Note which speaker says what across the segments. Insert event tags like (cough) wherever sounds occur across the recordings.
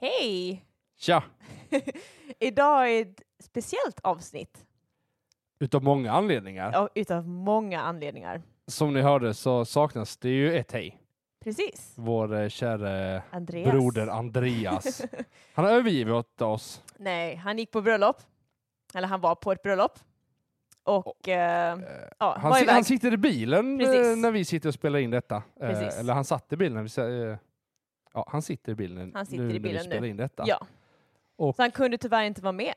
Speaker 1: Hej!
Speaker 2: Tja!
Speaker 1: (laughs) Idag är ett speciellt avsnitt
Speaker 2: Utav många anledningar.
Speaker 1: av- utav många anledningar.
Speaker 2: Som ni hörde så saknas det ju ett hej.
Speaker 1: Precis.
Speaker 2: Vår eh, käre
Speaker 1: Andreas. (laughs)
Speaker 2: broder Andreas. Han har övergivit oss.
Speaker 1: Nej, han gick på bröllop. Eller han var på ett bröllop. Och eh,
Speaker 2: Eh,
Speaker 1: ja,
Speaker 2: Han,
Speaker 1: var
Speaker 2: si-
Speaker 1: iväg.
Speaker 2: han sitter i bilen eh,
Speaker 1: Precis.
Speaker 2: när vi sitter och spelar in detta. Eh,
Speaker 1: Precis.
Speaker 2: Eller han satt i bilen. När vi, sa- eh, ja, han sitter i bilen,
Speaker 1: Han sitter i
Speaker 2: när
Speaker 1: bilen
Speaker 2: vi spelar
Speaker 1: nu.
Speaker 2: in detta.
Speaker 1: ja.
Speaker 2: Och-
Speaker 1: Så han kunde tyvärr inte vara med.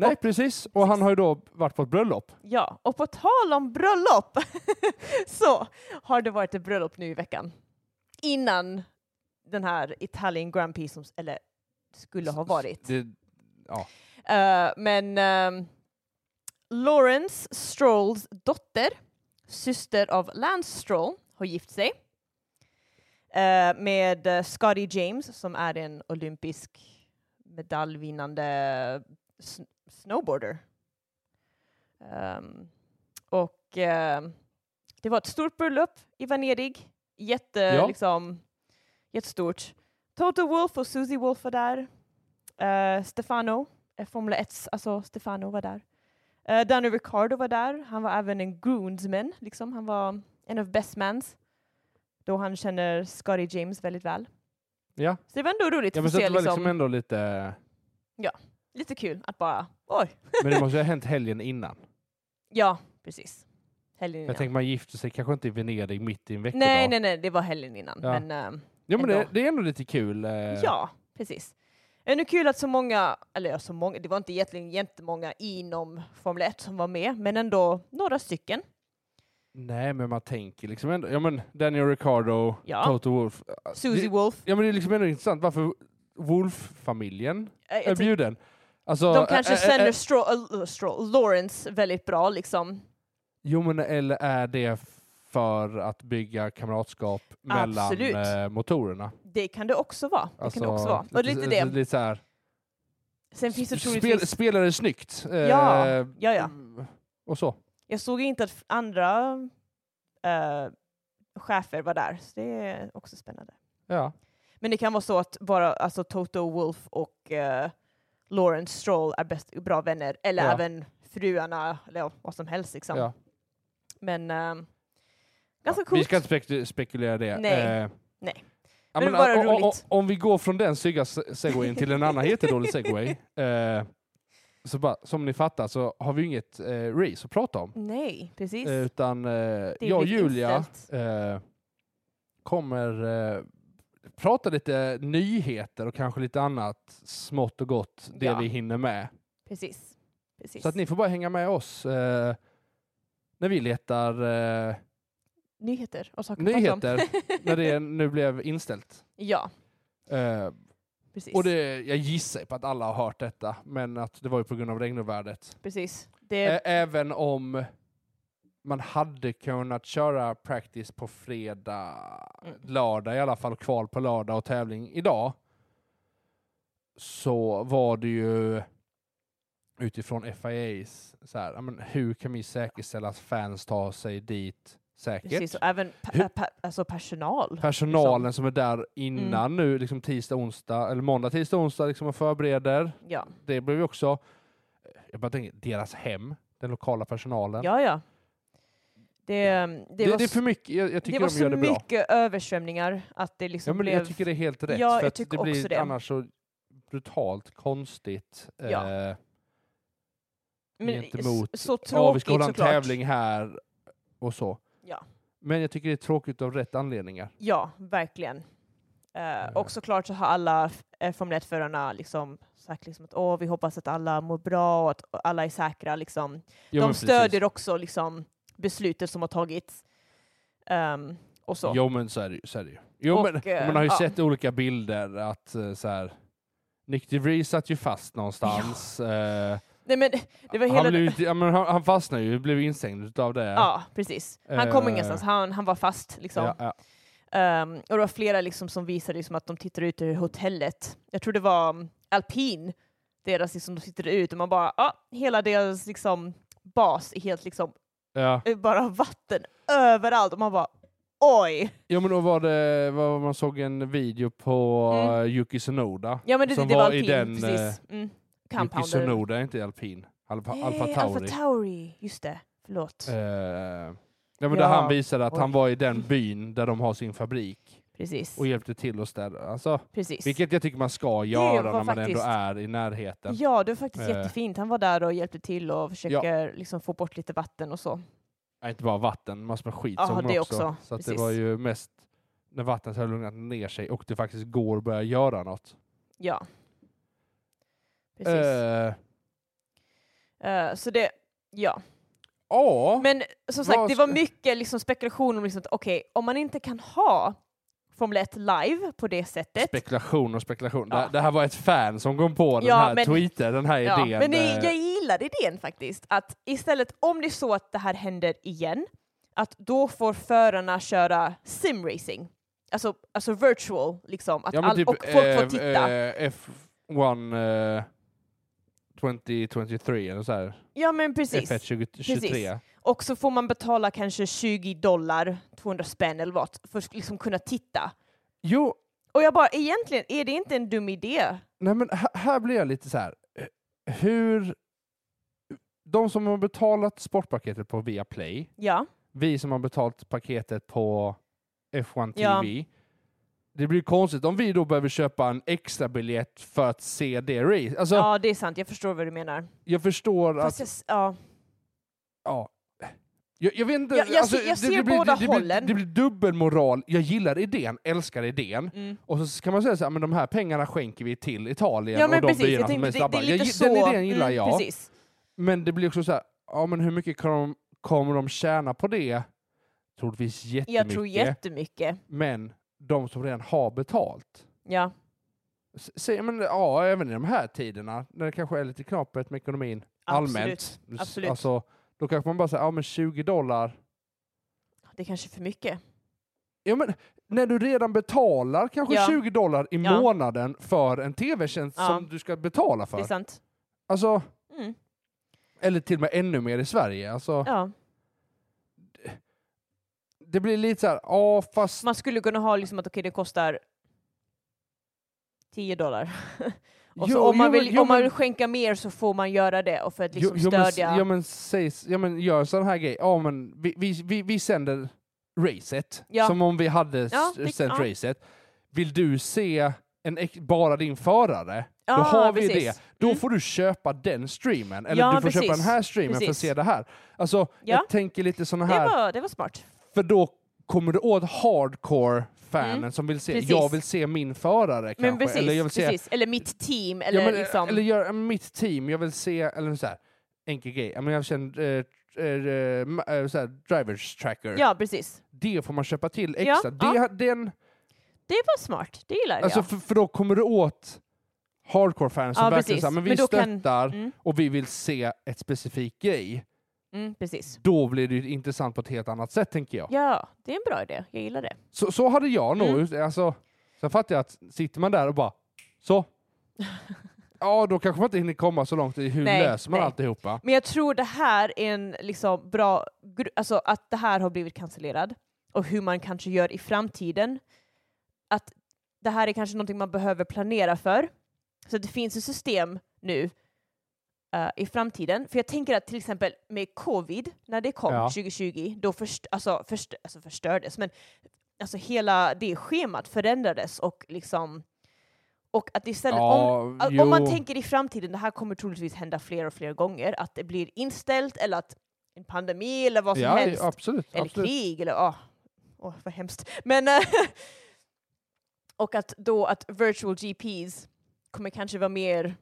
Speaker 2: Nej, precis. Och han har ju då varit på ett bröllop.
Speaker 1: Ja, och på tal om bröllop (laughs) så har det varit ett bröllop nu i veckan. Innan den här Italian Grand Prix som, s- eller skulle ha varit.
Speaker 2: Det,
Speaker 1: Eh, men ehm, Lawrence Strolls dotter, syster av Lance Stroll, har gift sig eh, med eh, Scotty James som är en olympisk medaljvinnande sn- snowboarder. Ehm, och ehm, det var ett stort bröllop i Venedig. Jätte,
Speaker 2: Ja.
Speaker 1: liksom, jättestort. Toto Wolff och Susie Wolff var där. Eh, Stefano, eh, Formel 1, alltså Stefano var där. Eh, Danny Ricardo var där. Han var även en groomsman, liksom. Han var en av best mans. Då han känner Scotty James väldigt väl.
Speaker 2: ja.
Speaker 1: Så det var ändå roligt
Speaker 2: Jag
Speaker 1: att få
Speaker 2: förstår
Speaker 1: se,
Speaker 2: att det var
Speaker 1: liksom,
Speaker 2: liksom ändå lite...
Speaker 1: lite kul att bara, oj,
Speaker 2: Men det måste ju ha hänt
Speaker 1: (laughs)
Speaker 2: helgen innan.
Speaker 1: ja, precis. Helgen innan.
Speaker 2: Jag tänker man gifter sig kanske inte i Venedig mitt i en veckodag.
Speaker 1: nej, nej, nej, det var helgen innan.
Speaker 2: Ja.
Speaker 1: Men, ehm,
Speaker 2: Ja, men det,
Speaker 1: Ändå.
Speaker 2: det är ändå lite kul. eh,
Speaker 1: Ja, precis. Ännu kul att så många, eller ja, så många, det var inte egentligen jättemånga inom Formel 1 som var med, men ändå några stycken.
Speaker 2: Nej, men man tänker liksom ändå. Ja, men Daniel Ricardo,
Speaker 1: Ja.
Speaker 2: Toto Wolff. eh,
Speaker 1: Susie
Speaker 2: det-
Speaker 1: Wolf.
Speaker 2: Ja, men det är liksom ändå intressant varför Wolff-familjen
Speaker 1: eh, jag
Speaker 2: är
Speaker 1: tänker-
Speaker 2: bjuden. Alltså,
Speaker 1: de
Speaker 2: eh,
Speaker 1: kanske
Speaker 2: eh, eh,
Speaker 1: känner Stroll, äh, Stroll, Lawrence väldigt bra liksom.
Speaker 2: Jo, men eller är det för att bygga kamratskap mellan
Speaker 1: Absolut.
Speaker 2: eh, motorerna? Alltså,
Speaker 1: Det kan det också vara. Det kan det också vara. Och lite
Speaker 2: lite,
Speaker 1: det.
Speaker 2: lite så här,
Speaker 1: Sen finns det
Speaker 2: spel,
Speaker 1: troligtvis...
Speaker 2: spelar det snyggt? eh,
Speaker 1: Ja, ja, ja.
Speaker 2: Och så.
Speaker 1: Jag såg inte att f- andra äh, chefer var där, så det är också spännande.
Speaker 2: Ja.
Speaker 1: Men det kan vara så att bara alltså, Toto Wolf och eh, Lawrence Stroll är bäst, bra vänner, eller
Speaker 2: Ja.
Speaker 1: även fruarna, eller ja, vad som helst liksom.
Speaker 2: ja.
Speaker 1: Men ehm, ganska
Speaker 2: Vi
Speaker 1: coolt.
Speaker 2: ska inte spek- spekulera det.
Speaker 1: Nej.
Speaker 2: Eh,
Speaker 1: Nej.
Speaker 2: ja,
Speaker 1: Men
Speaker 2: men, eh,
Speaker 1: det var
Speaker 2: o- o-
Speaker 1: roligt.
Speaker 2: o- om vi går från den stygga se- segwayen till en annan jättedålig segway, eh, så bara, som ni fattar så har vi ju inget eh, race att prata om.
Speaker 1: Nej, precis.
Speaker 2: Eh, utan eh,
Speaker 1: är
Speaker 2: jag och
Speaker 1: blivit
Speaker 2: Julia
Speaker 1: inställt.
Speaker 2: eh, kommer eh, prata lite nyheter och kanske lite annat smått och gott, det
Speaker 1: Ja.
Speaker 2: vi hinner med.
Speaker 1: precis. precis.
Speaker 2: Så att ni får bara hänga med oss eh, när vi letar eh,
Speaker 1: Nyheter och saker att prata om.
Speaker 2: nyheter, när det nu blev inställt.
Speaker 1: (laughs) Ja,
Speaker 2: Eh,
Speaker 1: precis.
Speaker 2: Och det, jag gissar på att alla har hört detta, men att det var ju på grund av regnovärdet.
Speaker 1: precis. Det,
Speaker 2: Ä- Även om man hade kunnat köra practice på fredag,
Speaker 1: Mm.
Speaker 2: lördag i alla fall, kval på lördag och tävling idag, så var det ju utifrån FIAs, så här, ja, men hur kan vi säkerställa att fans tar sig dit säkert?
Speaker 1: precis. Och liksom- även pa-
Speaker 2: Hur-
Speaker 1: pa- alltså personal.
Speaker 2: Personalen som är där innan
Speaker 1: Mm.
Speaker 2: nu, liksom tisdag, onsdag, eller måndag, tisdag, onsdag liksom och förbereder.
Speaker 1: ja.
Speaker 2: Det blev ju också, eh, jag bara tänker, deras hem, den lokala personalen.
Speaker 1: ja, ja. Det, ehm, det,
Speaker 2: det,
Speaker 1: var,
Speaker 2: det är
Speaker 1: s-
Speaker 2: för mycket, jag, jag
Speaker 1: det
Speaker 2: tycker
Speaker 1: var
Speaker 2: de gör
Speaker 1: så
Speaker 2: det bra.
Speaker 1: mycket överströmningar att det liksom
Speaker 2: Ja, men
Speaker 1: blev...
Speaker 2: Jag tycker det är helt rätt,
Speaker 1: Ja,
Speaker 2: för
Speaker 1: jag
Speaker 2: att
Speaker 1: tycker
Speaker 2: det blir
Speaker 1: också det.
Speaker 2: annars så brutalt konstigt.
Speaker 1: Ja.
Speaker 2: Eh,
Speaker 1: men,
Speaker 2: gentemot-
Speaker 1: s- så
Speaker 2: ja, vi
Speaker 1: tråkigt
Speaker 2: ska hålla en
Speaker 1: såklart.
Speaker 2: tävling här och så.
Speaker 1: Ja.
Speaker 2: Men jag tycker det är tråkigt av rätt anledningar.
Speaker 1: Ja, verkligen. Eh,
Speaker 2: Eh.
Speaker 1: Och såklart så har alla eh, Formel 1-förarna liksom sagt liksom att Åh, vi hoppas att alla mår bra och att alla är säkra. Liksom.
Speaker 2: Jo,
Speaker 1: De
Speaker 2: men
Speaker 1: stödjer
Speaker 2: precis.
Speaker 1: också liksom, beslutet som har tagits. Ehm, och så.
Speaker 2: Jo men så är det ju. Så är det ju. Jo,
Speaker 1: Och,
Speaker 2: men,
Speaker 1: eh,
Speaker 2: man har ju
Speaker 1: ja.
Speaker 2: sett olika bilder att eh, så här, Nick DeVries satt ju fast någonstans. Eh,
Speaker 1: Nej men det var hela...
Speaker 2: han, blev,
Speaker 1: den-
Speaker 2: ju inte- ja, men han, han fastnade ju, blev instängd utav det.
Speaker 1: Ja, precis. Han kom
Speaker 2: Eh.
Speaker 1: ingenstans, han, han var fast liksom.
Speaker 2: Ja, ja.
Speaker 1: Ehm, och det var flera liksom, som visade liksom, att de tittar ut ur hotellet. Jag tror det var mm, alpin, deras liksom, de tittade ut och man bara, ja, hela deras liksom, bas är helt liksom,
Speaker 2: Ja.
Speaker 1: eh, bara vatten överallt och man bara, oj!
Speaker 2: ja men då var det, var, man såg en video på
Speaker 1: Mm.
Speaker 2: eh, Yuki Sonoda.
Speaker 1: Ja men det, det,
Speaker 2: Som
Speaker 1: det var
Speaker 2: var i
Speaker 1: alpin,
Speaker 2: den, eh,
Speaker 1: precis. Mm.
Speaker 2: Yuki
Speaker 1: Compound. eller-
Speaker 2: Sonoda är inte alpin. Alfa,
Speaker 1: Nej,
Speaker 2: Alfa Tauri.
Speaker 1: Alpha Tauri, just det. Förlåt.
Speaker 2: Eh, ja, men Där
Speaker 1: Ja.
Speaker 2: han visade att han
Speaker 1: Oj.
Speaker 2: var i den byn där de har sin fabrik
Speaker 1: Precis.
Speaker 2: och hjälpte till att städa. Alltså,
Speaker 1: precis.
Speaker 2: vilket jag tycker man ska göra när
Speaker 1: var
Speaker 2: man ändå
Speaker 1: faktiskt-
Speaker 2: är i närheten.
Speaker 1: Ja, det var faktiskt
Speaker 2: Eh.
Speaker 1: jättefint. Han var där och hjälpte till och försöker liksom, få bort lite vatten och så.
Speaker 2: Ja, inte bara vatten, massor med skit
Speaker 1: Ja,
Speaker 2: som
Speaker 1: det
Speaker 2: också.
Speaker 1: också.
Speaker 2: Så att det
Speaker 1: Precis.
Speaker 2: var ju mest när vattnet har lugnat ner sig och det faktiskt går att börja göra något.
Speaker 1: Ja. Precis.
Speaker 2: Eh,
Speaker 1: Eh, så det, ja.
Speaker 2: ja,
Speaker 1: Men som sagt,
Speaker 2: Vad
Speaker 1: det var
Speaker 2: ska-
Speaker 1: mycket liksom spekulation om liksom att okej, om man inte kan ha Formel 1 live på det sättet.
Speaker 2: spekulation och spekulation.
Speaker 1: Ja.
Speaker 2: Det, det här var ett fan som kom på den
Speaker 1: Ja,
Speaker 2: här
Speaker 1: men-
Speaker 2: tweeten, den här
Speaker 1: ja,
Speaker 2: idén.
Speaker 1: men det,
Speaker 2: eh,
Speaker 1: jag gillar idén faktiskt. Att istället, om det är så att det här händer igen, att då får förarna köra simracing. Alltså, alltså virtual, liksom. Att
Speaker 2: ja, men
Speaker 1: all,
Speaker 2: typ,
Speaker 1: och folk får
Speaker 2: eh,
Speaker 1: titta.
Speaker 2: eh, F1 eh, 2023 eller så här.
Speaker 1: ja, men precis.
Speaker 2: F1 2023.
Speaker 1: Och så får man betala kanske 20 dollar, 200 spänn eller vad, för att liksom kunna titta.
Speaker 2: Jo,
Speaker 1: Och jag bara, egentligen, är det inte en dum idé?
Speaker 2: nej men här, här blir jag lite så här. eh, Hur... De som har betalat sportpaketet på Viaplay
Speaker 1: Ja,
Speaker 2: vi som har betalt paketet på F1
Speaker 1: Ja.
Speaker 2: TV. Det blir konstigt om vi då behöver köpa en extra biljett för att se det race. Alltså,
Speaker 1: ja det är sant. Jag förstår vad du menar.
Speaker 2: jag förstår
Speaker 1: Fast
Speaker 2: att...
Speaker 1: jag, s- ja.
Speaker 2: Ja. Jag, jag vet inte...
Speaker 1: Jag- jag
Speaker 2: alltså,
Speaker 1: ser- jag
Speaker 2: det-
Speaker 1: ser
Speaker 2: det blir,
Speaker 1: båda
Speaker 2: det, det blir,
Speaker 1: hållen.
Speaker 2: Det blir dubbelmoral. Jag gillar idén, älskar idén.
Speaker 1: Mm.
Speaker 2: Och så kan man säga så här, men de här pengarna skänker vi till Italien
Speaker 1: Ja
Speaker 2: och
Speaker 1: men
Speaker 2: de
Speaker 1: precis,
Speaker 2: byarna
Speaker 1: jag
Speaker 2: som
Speaker 1: tänkte
Speaker 2: är
Speaker 1: det, det är lite
Speaker 2: drabbade. jag,
Speaker 1: så.
Speaker 2: Den idén gillar
Speaker 1: Mm,
Speaker 2: jag.
Speaker 1: Precis.
Speaker 2: Men det blir också så här, ja men hur mycket kan de, kommer de tjäna på det? Troligtvis jättemycket.
Speaker 1: Jag tror jättemycket.
Speaker 2: men de som redan har betalt.
Speaker 1: Ja,
Speaker 2: S- Säger man ja, även i de här tiderna när det kanske är lite knapert med ekonomin
Speaker 1: Absolut,
Speaker 2: allmänt. S-
Speaker 1: absolut.
Speaker 2: Alltså, då kanske man bara säger, ja men 20 dollar.
Speaker 1: det är kanske är för mycket.
Speaker 2: Ja, men när du redan betalar kanske
Speaker 1: Ja.
Speaker 2: 20 dollar i
Speaker 1: Ja.
Speaker 2: månaden för en tv-tjänst
Speaker 1: Ja.
Speaker 2: som du ska betala
Speaker 1: Det är
Speaker 2: för.
Speaker 1: sant.
Speaker 2: Alltså,
Speaker 1: Mm.
Speaker 2: eller till och med ännu mer i Sverige. Alltså,
Speaker 1: Ja.
Speaker 2: Det blir lite så här, ja fast
Speaker 1: Man skulle kunna ha liksom att okej, det kostar 10 dollar. Och
Speaker 2: Jo,
Speaker 1: så om man,
Speaker 2: jo, men-
Speaker 1: vill,
Speaker 2: jo,
Speaker 1: om man
Speaker 2: men-
Speaker 1: vill skänka mer så får man göra det och för att liksom
Speaker 2: jo, jo, men,
Speaker 1: stödja.
Speaker 2: ja, men, säg, ja, men gör en sån här grej. Ja, men vi, vi, vi, vi sänder racet,
Speaker 1: Ja.
Speaker 2: som om vi hade s-
Speaker 1: Ja, det-
Speaker 2: sänt
Speaker 1: ja.
Speaker 2: racet. Vill du se en, ex- bara din förare,
Speaker 1: Ja,
Speaker 2: då har vi
Speaker 1: precis.
Speaker 2: det. Då
Speaker 1: Mm.
Speaker 2: får du köpa den streamen, eller
Speaker 1: Ja,
Speaker 2: du får köpa
Speaker 1: precis.
Speaker 2: den här streamen för att
Speaker 1: Precis.
Speaker 2: se det här. Alltså,
Speaker 1: Ja.
Speaker 2: jag tänker lite såna
Speaker 1: Det
Speaker 2: här,
Speaker 1: var, det var smart.
Speaker 2: för då kommer du åt hardcore-fanen som vill se,
Speaker 1: Mm. Precis.
Speaker 2: jag vill se min förare kanske,
Speaker 1: Men precis,
Speaker 2: eller jag vill se
Speaker 1: precis. eller mitt team, eller
Speaker 2: eller, ja, men, eh,
Speaker 1: liksom...
Speaker 2: eller gör, ja, men mitt team, jag vill se, eller så här, enkel grej, Ja, men jag känner eh, tr- eh, ma- eh, så här, drivers tracker.
Speaker 1: ja, precis.
Speaker 2: Det får man köpa till
Speaker 1: Ja,
Speaker 2: extra. det,
Speaker 1: ja.
Speaker 2: Den,
Speaker 1: Det var smart, det gillar
Speaker 2: alltså,
Speaker 1: jag.
Speaker 2: för, för då kommer du åt hardcore-fans som
Speaker 1: Ja,
Speaker 2: verkligen
Speaker 1: precis.
Speaker 2: så här, men vi
Speaker 1: Men då kan-
Speaker 2: stöttar
Speaker 1: Mm,
Speaker 2: och vi vill se ett specifikt grej.
Speaker 1: mm, precis.
Speaker 2: Då blir det ju intressant på ett helt annat sätt, tänker jag.
Speaker 1: Ja, Mm. det är en bra idé. Jag gillar det.
Speaker 2: Så, så hade jag nog... Alltså, sen fattar jag att sitter man där och bara
Speaker 1: (laughs)
Speaker 2: så. ja, då kanske man inte hinner komma så långt i hur
Speaker 1: Nej,
Speaker 2: löser man
Speaker 1: nej.
Speaker 2: alltihopa.
Speaker 1: Men jag tror det här är en liksom bra... gru- Alltså att det här har blivit cancellerad och hur man kanske gör i framtiden. Att det här är kanske någonting man behöver planera för. Så att det finns ett system nu eh, i framtiden. För jag tänker att till exempel med covid, när det kom
Speaker 2: Ja.
Speaker 1: 2020, då först, alltså, först, alltså förstördes, men alltså hela det schemat förändrades och liksom... Och att istället, om, Att
Speaker 2: jo.
Speaker 1: Om man tänker i framtiden, det här kommer troligtvis hända fler och fler gånger, att det blir inställt eller att en pandemi eller vad som
Speaker 2: ja,
Speaker 1: helst,
Speaker 2: absolut.
Speaker 1: eller
Speaker 2: absolut.
Speaker 1: krig eller åh, åh vad hemskt. Men, eh, (laughs) och att då att virtual GPs kommer kanske vara mer,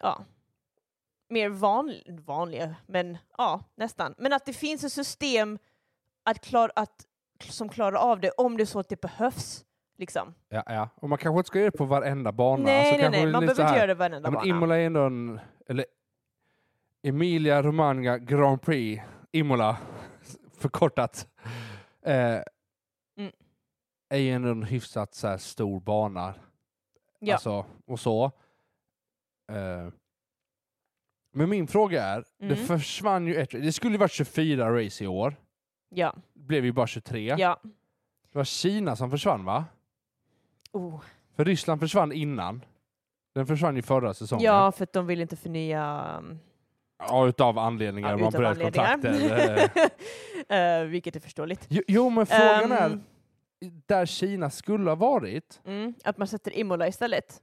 Speaker 1: ja, mer van, vanliga, men ja, nästan. Men att det finns ett system att klar, att, som klarar av det om det är så att det behövs Liksom.
Speaker 2: Ja, ja. Och man kanske inte ska göra det på varenda bana.
Speaker 1: nej,
Speaker 2: alltså,
Speaker 1: nej,
Speaker 2: kanske
Speaker 1: nej. Man
Speaker 2: lite så
Speaker 1: behöver inte
Speaker 2: här,
Speaker 1: göra det varenda
Speaker 2: Ja, men
Speaker 1: bana.
Speaker 2: Imola är ändå en... Eller Emilia Romagna Grand Prix. Imola. (laughs) Förkortat. Eh,
Speaker 1: Mm.
Speaker 2: Är ju ändå en hyfsat så här stor bana.
Speaker 1: Ja.
Speaker 2: Alltså, och så. Eh, men min fråga är, det
Speaker 1: Mm.
Speaker 2: försvann ju ett... Det skulle ju varit 24 race i år.
Speaker 1: ja,
Speaker 2: Det blev ju bara 23.
Speaker 1: ja.
Speaker 2: Det var Kina som försvann va?
Speaker 1: Oh.
Speaker 2: För Ryssland försvann innan. Den försvann ju förra säsongen.
Speaker 1: ja, för att de vill inte förnya um,
Speaker 2: Ja, utav anledningar.
Speaker 1: ja,
Speaker 2: man
Speaker 1: utav
Speaker 2: bröt
Speaker 1: (laughs)
Speaker 2: kontrakten. Eh,
Speaker 1: Eh, vilket är förståeligt.
Speaker 2: jo, jo, men frågan är,
Speaker 1: Ehm,
Speaker 2: där Kina skulle ha varit,
Speaker 1: mm, att man sätter Imola istället.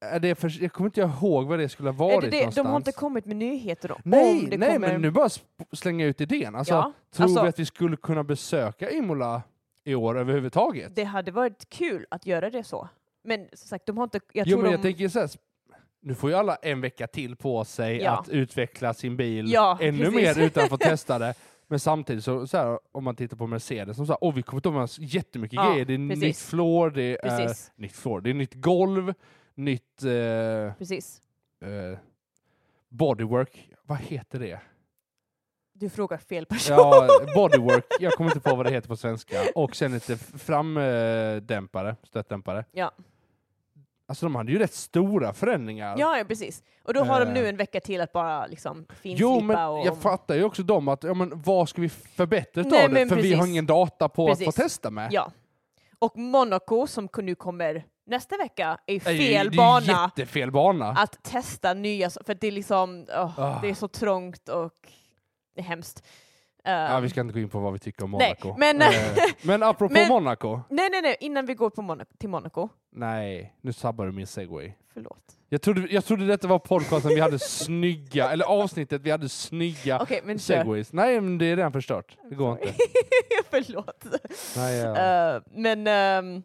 Speaker 2: är det för, jag kommer inte ihåg vad det skulle ha varit
Speaker 1: Är det det, de
Speaker 2: någonstans.
Speaker 1: har inte kommit med nyheter om
Speaker 2: Nej,
Speaker 1: det
Speaker 2: nej
Speaker 1: kommer...
Speaker 2: men nu bara sp- slänga ut idén. Alltså,
Speaker 1: ja,
Speaker 2: tror
Speaker 1: alltså-
Speaker 2: vi att vi skulle kunna besöka Imola i år överhuvudtaget?
Speaker 1: det hade varit kul att göra det så. Men som sagt, de har inte... Jag
Speaker 2: jo,
Speaker 1: tror
Speaker 2: men
Speaker 1: de...
Speaker 2: jag tänker så här, sp- nu får ju alla en vecka till på sig
Speaker 1: Ja.
Speaker 2: att utveckla sin bil
Speaker 1: Ja,
Speaker 2: ännu
Speaker 1: precis.
Speaker 2: mer utan att få
Speaker 1: (laughs)
Speaker 2: testa det. Men samtidigt, så, så här, om man tittar på Mercedes, som sa åh vi kommer ta med oss jättemycket
Speaker 1: Ja,
Speaker 2: grejer. Det är
Speaker 1: precis.
Speaker 2: nytt floor, det är, eh,
Speaker 1: Precis.
Speaker 2: nytt floor, det är nytt golv, nytt eh,
Speaker 1: Precis.
Speaker 2: eh, bodywork. Vad
Speaker 1: (laughs)
Speaker 2: heter det?
Speaker 1: Du frågar fel person. (laughs)
Speaker 2: Ja, bodywork. Jag kommer inte på vad det heter på svenska. Och sen lite framdämpare, stötdämpare.
Speaker 1: Ja.
Speaker 2: Alltså de hade ju rätt stora förändringar.
Speaker 1: Ja, ja, precis. Och då har de
Speaker 2: Eh.
Speaker 1: nu en vecka till att bara liksom
Speaker 2: Jo,
Speaker 1: finslipa
Speaker 2: men
Speaker 1: och...
Speaker 2: jag fattar ju också dem att, ja men vad ska vi förbättra utav
Speaker 1: Nej,
Speaker 2: det?
Speaker 1: men
Speaker 2: För vi
Speaker 1: precis.
Speaker 2: har ingen data på att
Speaker 1: Precis.
Speaker 2: få testa med.
Speaker 1: Ja. Och Monaco, som nu kommer nästa vecka, är
Speaker 2: Det är ju-
Speaker 1: fel
Speaker 2: det är
Speaker 1: bana Ah.
Speaker 2: ju Jättefel bana.
Speaker 1: att testa nya... s- För att det är liksom... åh,
Speaker 2: Ah.
Speaker 1: Det är så trångt och det är hemskt. Eh,
Speaker 2: Ja, vi ska inte gå in på vad vi tycker om
Speaker 1: Nej,
Speaker 2: Monaco.
Speaker 1: men- (laughs)
Speaker 2: Eh, men apropå
Speaker 1: Men-
Speaker 2: Monaco.
Speaker 1: Nej, nej, nej, innan vi går på Monaco, till Monaco.
Speaker 2: Nej, nu sabbar du min segway.
Speaker 1: Förlåt.
Speaker 2: Jag trodde, jag trodde detta var podcasten vi hade snygga, eller avsnittet vi hade snygga
Speaker 1: Okej, men kör.
Speaker 2: segways. Nej, men det är redan förstört. Det
Speaker 1: (laughs)
Speaker 2: går
Speaker 1: Sorry.
Speaker 2: inte.
Speaker 1: Förlåt.
Speaker 2: Nej, ja.
Speaker 1: Eh, men ehm,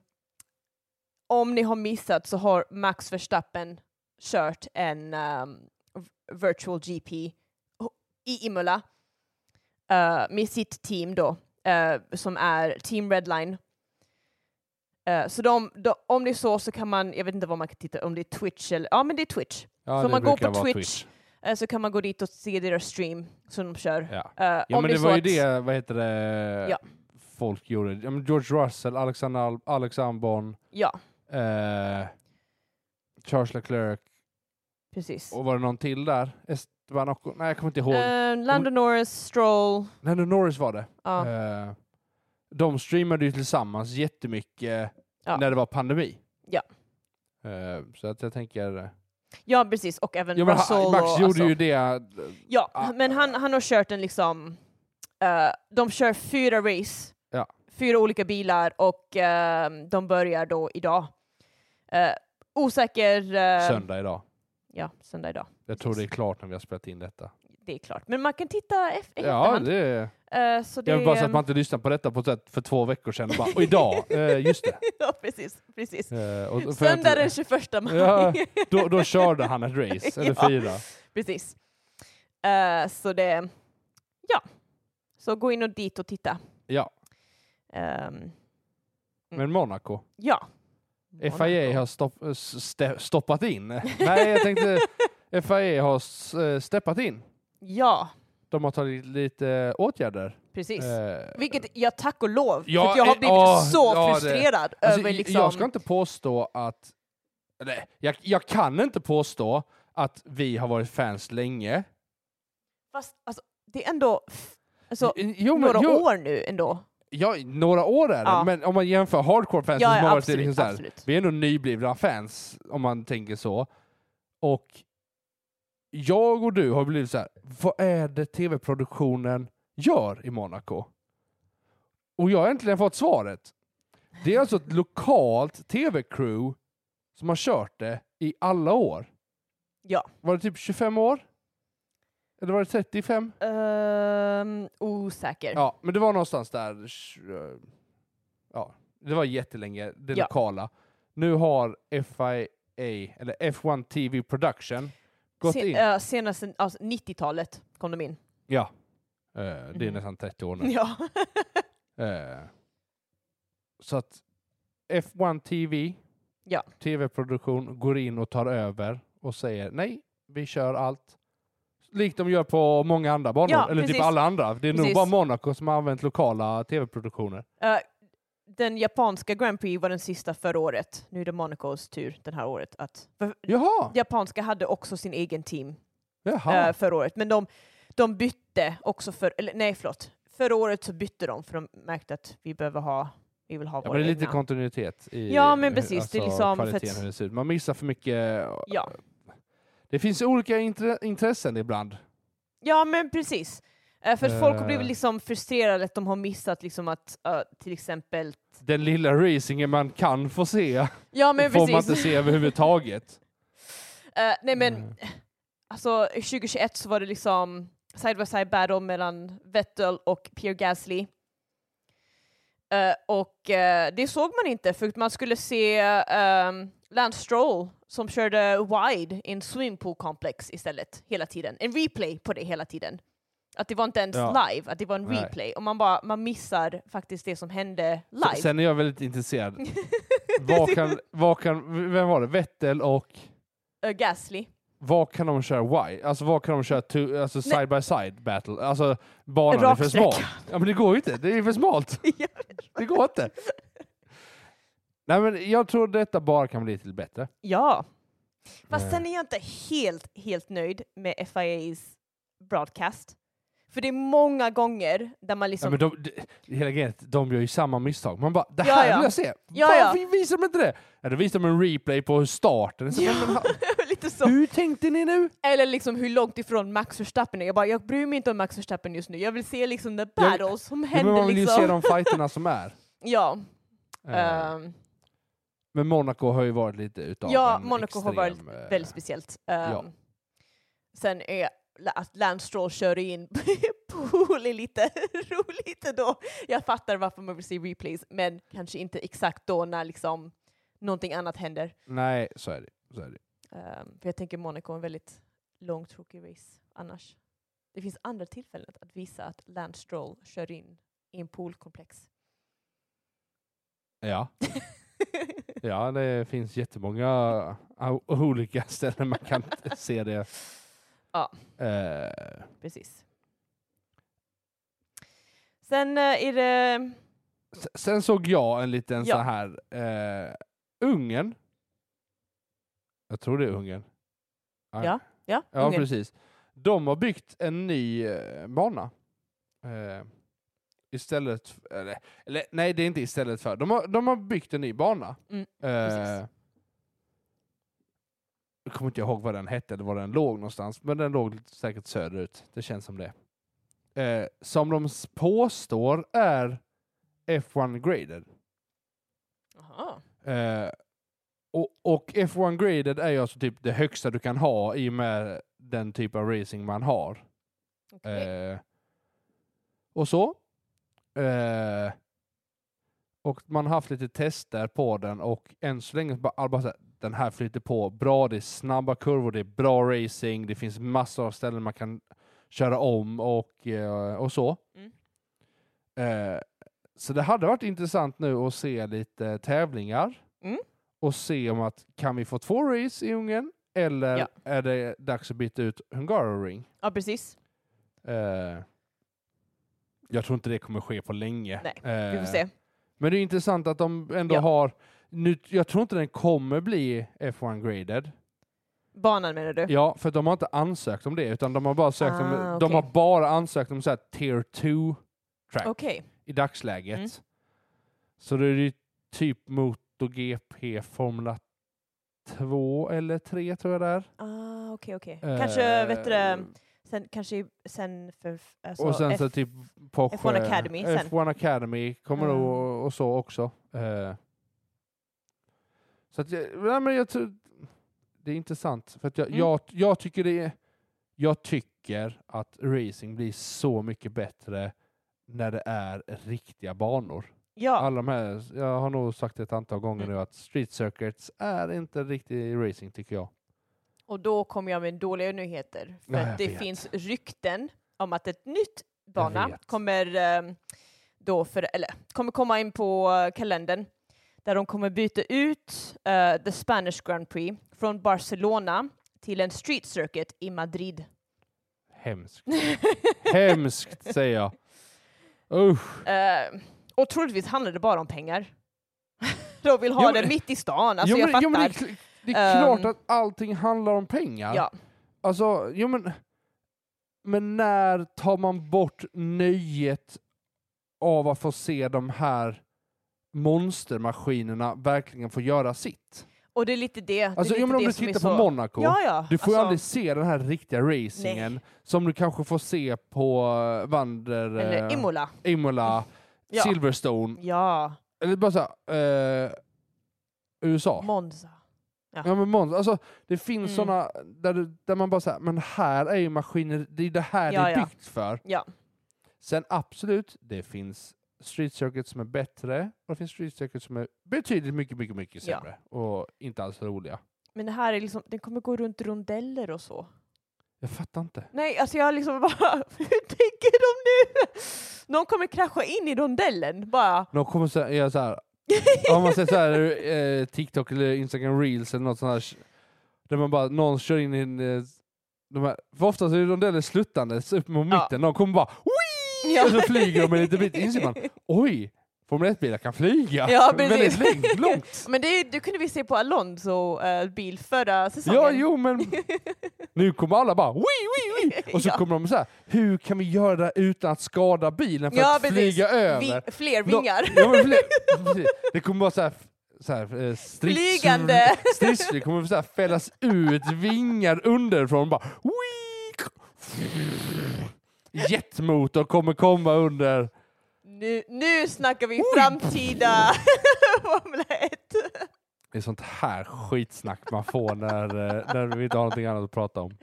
Speaker 1: om ni har missat så har Max Verstappen kört en ehm, v- virtual GP ho- i Imola eh, med sitt team då, eh, som är Team Redline. Eh, så de, de, om det är så så kan man, jag vet inte vad man kan titta, om det är Twitch eller, ja men det är Twitch.
Speaker 2: ja,
Speaker 1: så
Speaker 2: det
Speaker 1: om man går
Speaker 2: brukar
Speaker 1: på
Speaker 2: vara
Speaker 1: Twitch, Eh, så kan man gå dit och se deras stream som de kör.
Speaker 2: Ja.
Speaker 1: Eh,
Speaker 2: Ja
Speaker 1: om
Speaker 2: men
Speaker 1: är
Speaker 2: det
Speaker 1: så
Speaker 2: var ju
Speaker 1: att-
Speaker 2: det, vad heter det,
Speaker 1: Ja.
Speaker 2: folk gjorde. Ja, men George Russell, Alexander Al- Alex Albon,
Speaker 1: Ja,
Speaker 2: eh, Charles Leclerc
Speaker 1: precis.
Speaker 2: och var det någon till där? Esteban Ocon? Nej jag kommer inte ihåg.
Speaker 1: Eh, Lando Norris, Stroll.
Speaker 2: Lando Norris var det.
Speaker 1: Ja.
Speaker 2: Eh, de streamade ju tillsammans jättemycket
Speaker 1: Ja.
Speaker 2: när det var pandemi.
Speaker 1: Ja.
Speaker 2: Eh, så att jag tänker... eh,
Speaker 1: ja, precis. Och även
Speaker 2: Ja, men
Speaker 1: Russell.
Speaker 2: han, Max
Speaker 1: och,
Speaker 2: gjorde
Speaker 1: alltså,
Speaker 2: ju det... eh,
Speaker 1: Ja,
Speaker 2: Ah.
Speaker 1: men han, han har kört en liksom... eh, de kör fyra race.
Speaker 2: Ja.
Speaker 1: Fyra olika bilar och ehm, de börjar då idag. Eh, osäker... eh,
Speaker 2: Söndag idag.
Speaker 1: Ja, söndag idag.
Speaker 2: Jag tror det
Speaker 1: precis.
Speaker 2: är klart när vi har spelat in detta.
Speaker 1: Det är klart. Men man kan titta efter eh,
Speaker 2: Ja, det är...
Speaker 1: så det,
Speaker 2: Jag vill bara säga att man inte lyssnar på detta på ett sätt för två veckor sedan. Bara, och idag,
Speaker 1: (laughs)
Speaker 2: eh, just det.
Speaker 1: ja, precis. precis.
Speaker 2: Eh, och- och för
Speaker 1: Söndag
Speaker 2: att-
Speaker 1: den 21 maj.
Speaker 2: Ja. då, då körde han ett
Speaker 1: (laughs)
Speaker 2: race, eller
Speaker 1: Ja.
Speaker 2: fyra.
Speaker 1: Precis. Eh, så det, ja. Så gå in och dit och titta.
Speaker 2: Ja.
Speaker 1: Ehm,
Speaker 2: Men Monaco.
Speaker 1: ja.
Speaker 2: FIA har stopp, eh, ste, stoppat in. Nej,
Speaker 1: (laughs)
Speaker 2: jag tänkte FIA har s- eh, steppat in.
Speaker 1: Ja,
Speaker 2: De har tagit lite eh, åtgärder.
Speaker 1: precis.
Speaker 2: Eh,
Speaker 1: Vilket jag tack och lov,
Speaker 2: Ja,
Speaker 1: för att jag har
Speaker 2: eh,
Speaker 1: blivit
Speaker 2: åh,
Speaker 1: så
Speaker 2: ja, det-
Speaker 1: frustrerad
Speaker 2: Alltså,
Speaker 1: över
Speaker 2: j-
Speaker 1: liksom...
Speaker 2: Jag ska inte påstå att... Nej, jag, jag kan inte påstå att vi har varit fans länge.
Speaker 1: Fast alltså, det är ändå f- alltså,
Speaker 2: jo, men-
Speaker 1: några
Speaker 2: jo,
Speaker 1: år nu ändå.
Speaker 2: Ja, några år är det,
Speaker 1: Ja.
Speaker 2: men om man jämför hardcore-fansen
Speaker 1: Ja,
Speaker 2: som
Speaker 1: ja,
Speaker 2: har varit
Speaker 1: absolut,
Speaker 2: liksom så här,
Speaker 1: absolut.
Speaker 2: vi är ändå nyblivna fans, om man tänker så. Och jag och du har blivit så här, vad är det tv-produktionen gör i Monaco? Och jag har äntligen fått svaret. Det är alltså ett lokalt tv-crew som har kört det i alla år.
Speaker 1: Ja.
Speaker 2: Var det typ 25 år? Eller var det 35?
Speaker 1: Ehm, osäker.
Speaker 2: Ja, men det var någonstans där. eh, Ja, det var jättelänge, det
Speaker 1: Ja.
Speaker 2: lokala. Nu har FIA, eller F1 TV Production, gått
Speaker 1: Se-
Speaker 2: in.
Speaker 1: eh, senaste alltså, 90-talet kom de in.
Speaker 2: Ja. Eh, det är
Speaker 1: Mhm. (laughs)
Speaker 2: nästan 30 år nu.
Speaker 1: Ja.
Speaker 2: Eh, så att F1 TV,
Speaker 1: Ja.
Speaker 2: TV-produktion, går in och tar över och säger nej, vi kör allt. Likt de gör på många andra banor,
Speaker 1: Ja,
Speaker 2: eller
Speaker 1: precis.
Speaker 2: typ alla andra. Det är nog
Speaker 1: Precis.
Speaker 2: bara Monaco som har använt lokala TV-produktioner.
Speaker 1: Eh, den japanska Grand Prix var den sista förra året. Nu är det Monacos tur den här året. Att, för
Speaker 2: Jaha!
Speaker 1: japanska hade också sin egen team
Speaker 2: Jaha.
Speaker 1: eh, förra året, men de, de bytte också för... Eller, nej, förlåt. Förra året så bytte de för de märkte att vi behöver ha... Vi vill ha
Speaker 2: Ja,
Speaker 1: våra
Speaker 2: men det är lite
Speaker 1: egna.
Speaker 2: kontinuitet i
Speaker 1: Ja, men
Speaker 2: hur-
Speaker 1: precis, det är
Speaker 2: alltså
Speaker 1: liksom för
Speaker 2: kvaliteten,
Speaker 1: att-
Speaker 2: hur det ser ut. Man missar för mycket. eh,
Speaker 1: Ja.
Speaker 2: Det finns olika intre- intressen ibland.
Speaker 1: Ja, men precis. Eh, för att folk har
Speaker 2: Eh.
Speaker 1: blivit liksom frustrerade att de har missat liksom att eh, till exempel...
Speaker 2: Den lilla racingen man kan få se
Speaker 1: Ja, men
Speaker 2: får
Speaker 1: precis.
Speaker 2: man inte se överhuvudtaget.
Speaker 1: (laughs) Eh, nej, men
Speaker 2: Mm.
Speaker 1: alltså 2021 så var det liksom side-by-side battle mellan Vettel och Pierre Gasly. Eh, och eh, det såg man inte för att man skulle se um, Lance Stroll som körde wide i en swimmingpool complex istället hela tiden. En replay på det hela tiden. Att det var inte ens
Speaker 2: Ja.
Speaker 1: live, att det var en
Speaker 2: Nej.
Speaker 1: replay. Och man, bara, man missar faktiskt det som hände
Speaker 2: Så-
Speaker 1: live.
Speaker 2: Sen är jag
Speaker 1: (laughs)
Speaker 2: väldigt intresserad. Vad kan, vad kan, vem var det? Vettel och
Speaker 1: Eh, Gasly.
Speaker 2: vad kan de köra why? Alltså vad kan de köra to, alltså
Speaker 1: Nej.
Speaker 2: side by side battle? Alltså banan är för
Speaker 1: Raksträcka.
Speaker 2: smal. Ja men det går ju inte, det är för smalt.
Speaker 1: (laughs) Ja.
Speaker 2: Det går inte. Nej men jag tror detta bara kan bli till bättre.
Speaker 1: Ja. Fast
Speaker 2: Eh.
Speaker 1: sen är jag inte helt, helt nöjd med FIAs broadcast. För det är många gånger där man
Speaker 2: Ja,
Speaker 1: liksom...
Speaker 2: men de, de, hela grejen är att de gör ju samma misstag. Man bara, det
Speaker 1: Ja,
Speaker 2: här
Speaker 1: ja.
Speaker 2: vill jag se!
Speaker 1: Ja,
Speaker 2: Varför visar de inte det? Ja, då visar de en replay på hur starten. Så,
Speaker 1: Ja. (laughs)
Speaker 2: men, ha-
Speaker 1: lite så.
Speaker 2: hur tänkte ni nu?
Speaker 1: Eller liksom hur långt ifrån Max Verstappen är. Jag bara, jag bryr mig inte om Max Verstappen just nu. Jag vill se liksom the battles som
Speaker 2: Ja, men
Speaker 1: händer
Speaker 2: man vill
Speaker 1: liksom.
Speaker 2: ju se de fighterna
Speaker 1: (laughs)
Speaker 2: som är.
Speaker 1: Ja.
Speaker 2: Eh,
Speaker 1: ehm,
Speaker 2: Men Monaco har ju varit lite utav
Speaker 1: ja,
Speaker 2: en
Speaker 1: Monaco har
Speaker 2: extrem,
Speaker 1: varit
Speaker 2: eh,
Speaker 1: väldigt speciellt. Ehm,
Speaker 2: ja.
Speaker 1: Sen är att Lance Stroll körde in (laughs) pool är lite (laughs) roligt då. Jag fattar varför man vill se replays, men kanske inte exakt då när liksom någonting annat händer.
Speaker 2: Nej, så är det. Så är det.
Speaker 1: Ehm, för jag tänker Monaco är en väldigt lång, tråkig race annars. Det finns andra tillfällen att visa att Lance Stroll kör in i en
Speaker 2: (laughs)
Speaker 1: poolkomplex.
Speaker 2: Ja. ja, det finns jättemånga o- olika (laughs) ställen man kan se det.
Speaker 1: Ja.
Speaker 2: Eh,
Speaker 1: Precis. Sen eh, är det...
Speaker 2: s- sen såg jag en liten
Speaker 1: Ja.
Speaker 2: så här, eh, Ungern. Jag tror det är Ungern. Nej.
Speaker 1: Ja, ja,
Speaker 2: Ja,
Speaker 1: Ungern.
Speaker 2: precis. De har byggt en ny eh, bana. Eh, istället, f- eller, eller nej det är inte istället för, de har, de har byggt en ny bana.
Speaker 1: Mm,
Speaker 2: eh, jag kommer inte ihåg vad den hette eller var den låg någonstans, men den låg lite säkert söderut. Det känns som det. Eh, som de s- påstår är F1 graded.
Speaker 1: Aha.
Speaker 2: Eh, och, och F1 graded är ju alltså typ det högsta du kan ha i och med den typ av racing man har.
Speaker 1: okej.
Speaker 2: Eh, och så. Eh, och man har haft lite tester på den och än så länge så bara, alla bara så här, den här flyter på bra, det är snabba kurvor, det är bra racing, det finns massor av ställen man kan köra om och, eh, och så.
Speaker 1: Mm.
Speaker 2: Eh, så det hade varit intressant nu att se lite tävlingar
Speaker 1: Mm.
Speaker 2: och se om att kan vi få två race i Ungern eller
Speaker 1: Ja.
Speaker 2: är det dags att byta ut Hungaroring?
Speaker 1: Ja, precis.
Speaker 2: Eh, jag tror inte det kommer ske på länge.
Speaker 1: Nej, Vi
Speaker 2: Eh,
Speaker 1: får se.
Speaker 2: Men det är intressant att de ändå
Speaker 1: Ja.
Speaker 2: har... Nu, jag tror inte den kommer bli F1-graded.
Speaker 1: Banan menar du?
Speaker 2: Ja, för de har inte ansökt om det, utan de har bara, sökt
Speaker 1: Ah,
Speaker 2: om,
Speaker 1: okej.
Speaker 2: de har bara ansökt om så här tier 2 track
Speaker 1: Okej.
Speaker 2: i dagsläget.
Speaker 1: Mm.
Speaker 2: Så då är det ju typ MotoGP Formula 2 eller 3 tror jag det är.
Speaker 1: Ah, okej, okej. Kanske,
Speaker 2: Eh,
Speaker 1: vet du det, sen, kanske sen för... Alltså,
Speaker 2: och sen
Speaker 1: F-
Speaker 2: så typ på
Speaker 1: F1
Speaker 2: sjö-
Speaker 1: Academy sen.
Speaker 2: F1 Academy kommer då
Speaker 1: Ah.
Speaker 2: och, och så också. Eh, så att jag, nej, men jag tror, det är intressant för att jag,
Speaker 1: Mm.
Speaker 2: jag, jag tycker det är, jag tycker att racing blir så mycket bättre när det är riktiga banor.
Speaker 1: ja,
Speaker 2: Alla de här, jag har nog sagt det ett antal gånger
Speaker 1: Mm.
Speaker 2: nu att street circuits är inte riktig racing tycker jag.
Speaker 1: och då kommer jag med dåliga nyheter. För
Speaker 2: Ja, jag
Speaker 1: att det
Speaker 2: vet.
Speaker 1: finns rykten om att ett nytt
Speaker 2: Jag
Speaker 1: bana
Speaker 2: vet.
Speaker 1: kommer, ehm, då för, eller, kommer komma in på eh, kalendern där de kommer byta ut eh, The Spanish Grand Prix från Barcelona till en street circuit i Madrid. (laughs)
Speaker 2: Hemskt. Hemskt säger jag. Usch.
Speaker 1: Eh, och troligtvis handlar det bara om pengar. (laughs) de vill ha
Speaker 2: Jo, men-
Speaker 1: det mitt i stan, alltså jag fattar.
Speaker 2: jo, men det, är, kl- det är
Speaker 1: Ehm.
Speaker 2: klart att allting handlar om pengar.
Speaker 1: ja.
Speaker 2: Alltså, jo men... Men när tar man bort nöjet av att få se de här monstermaskinerna verkligen få göra sitt?
Speaker 1: Och det är lite det.
Speaker 2: Alltså,
Speaker 1: det är
Speaker 2: jo,
Speaker 1: lite
Speaker 2: men om
Speaker 1: det
Speaker 2: du
Speaker 1: som är
Speaker 2: tittar
Speaker 1: så...
Speaker 2: på Monaco,
Speaker 1: Ja, ja.
Speaker 2: du får ju
Speaker 1: alltså,
Speaker 2: aldrig se den här riktiga racingen som du kanske får se på eh, Vander...
Speaker 1: Eller
Speaker 2: eh,
Speaker 1: Imola.
Speaker 2: Imola,
Speaker 1: Ja.
Speaker 2: Silverstone,
Speaker 1: Ja,
Speaker 2: eller bara såhär, eh, USA.
Speaker 1: Monza.
Speaker 2: Ja men Måns, alltså det finns
Speaker 1: Mm.
Speaker 2: såna där, du- där man bara säger men här är ju maskiner, det är det här
Speaker 1: Ja,
Speaker 2: det är
Speaker 1: ja.
Speaker 2: byggt för.
Speaker 1: Ja.
Speaker 2: Sen absolut, det finns street circuits som är bättre och det finns street circuits som är betydligt mycket, mycket, mycket
Speaker 1: Ja.
Speaker 2: sämre och inte alls roliga.
Speaker 1: Men det här är liksom, den kommer gå runt rondeller och så.
Speaker 2: Jag fattar inte.
Speaker 1: Nej, alltså jag liksom bara, (laughs) hur tänker de nu? Någon kommer krascha in i rondellen, bara.
Speaker 2: De kommer så här, göra så här, om man säger så här, eh, TikTok eller Instagram reels eller något sånt här, där man bara, någon kör in i en, eh, de här, för oftast är de där sluttandes upp mot
Speaker 1: Ja.
Speaker 2: mitten, de kommer bara
Speaker 1: (laughs) Ja.
Speaker 2: Och så flyger de en liten bit, inser man, oj, Formel 1-bilar kan flyga
Speaker 1: Ja, precis.
Speaker 2: väldigt längt, långt.
Speaker 1: (laughs) Men det, det kunde vi se på Alonso eh, bil förra säsongen.
Speaker 2: Ja,
Speaker 1: (laughs)
Speaker 2: jo men nu kommer alla bara wii, wii, wii. och så
Speaker 1: Ja.
Speaker 2: kommer de så här, hur kan vi göra det här utan att skada bilen för
Speaker 1: Ja,
Speaker 2: att
Speaker 1: precis.
Speaker 2: flyga över?
Speaker 1: Vi, fler vingar.
Speaker 2: Ja, men fler- (laughs) precis. det kommer bara så här, så här eh, strids,
Speaker 1: Flygande.
Speaker 2: (laughs) Stridsflyg kommer så här fällas ut vingar underifrån bara Wii! (laughs) Jetmotor kommer komma under.
Speaker 1: Nu, nu snackar vi framtida (laughs) Formel 1.
Speaker 2: Det är sånt här skitsnack man får när, eh, när vi inte har någonting annat att prata om.
Speaker 1: Eh,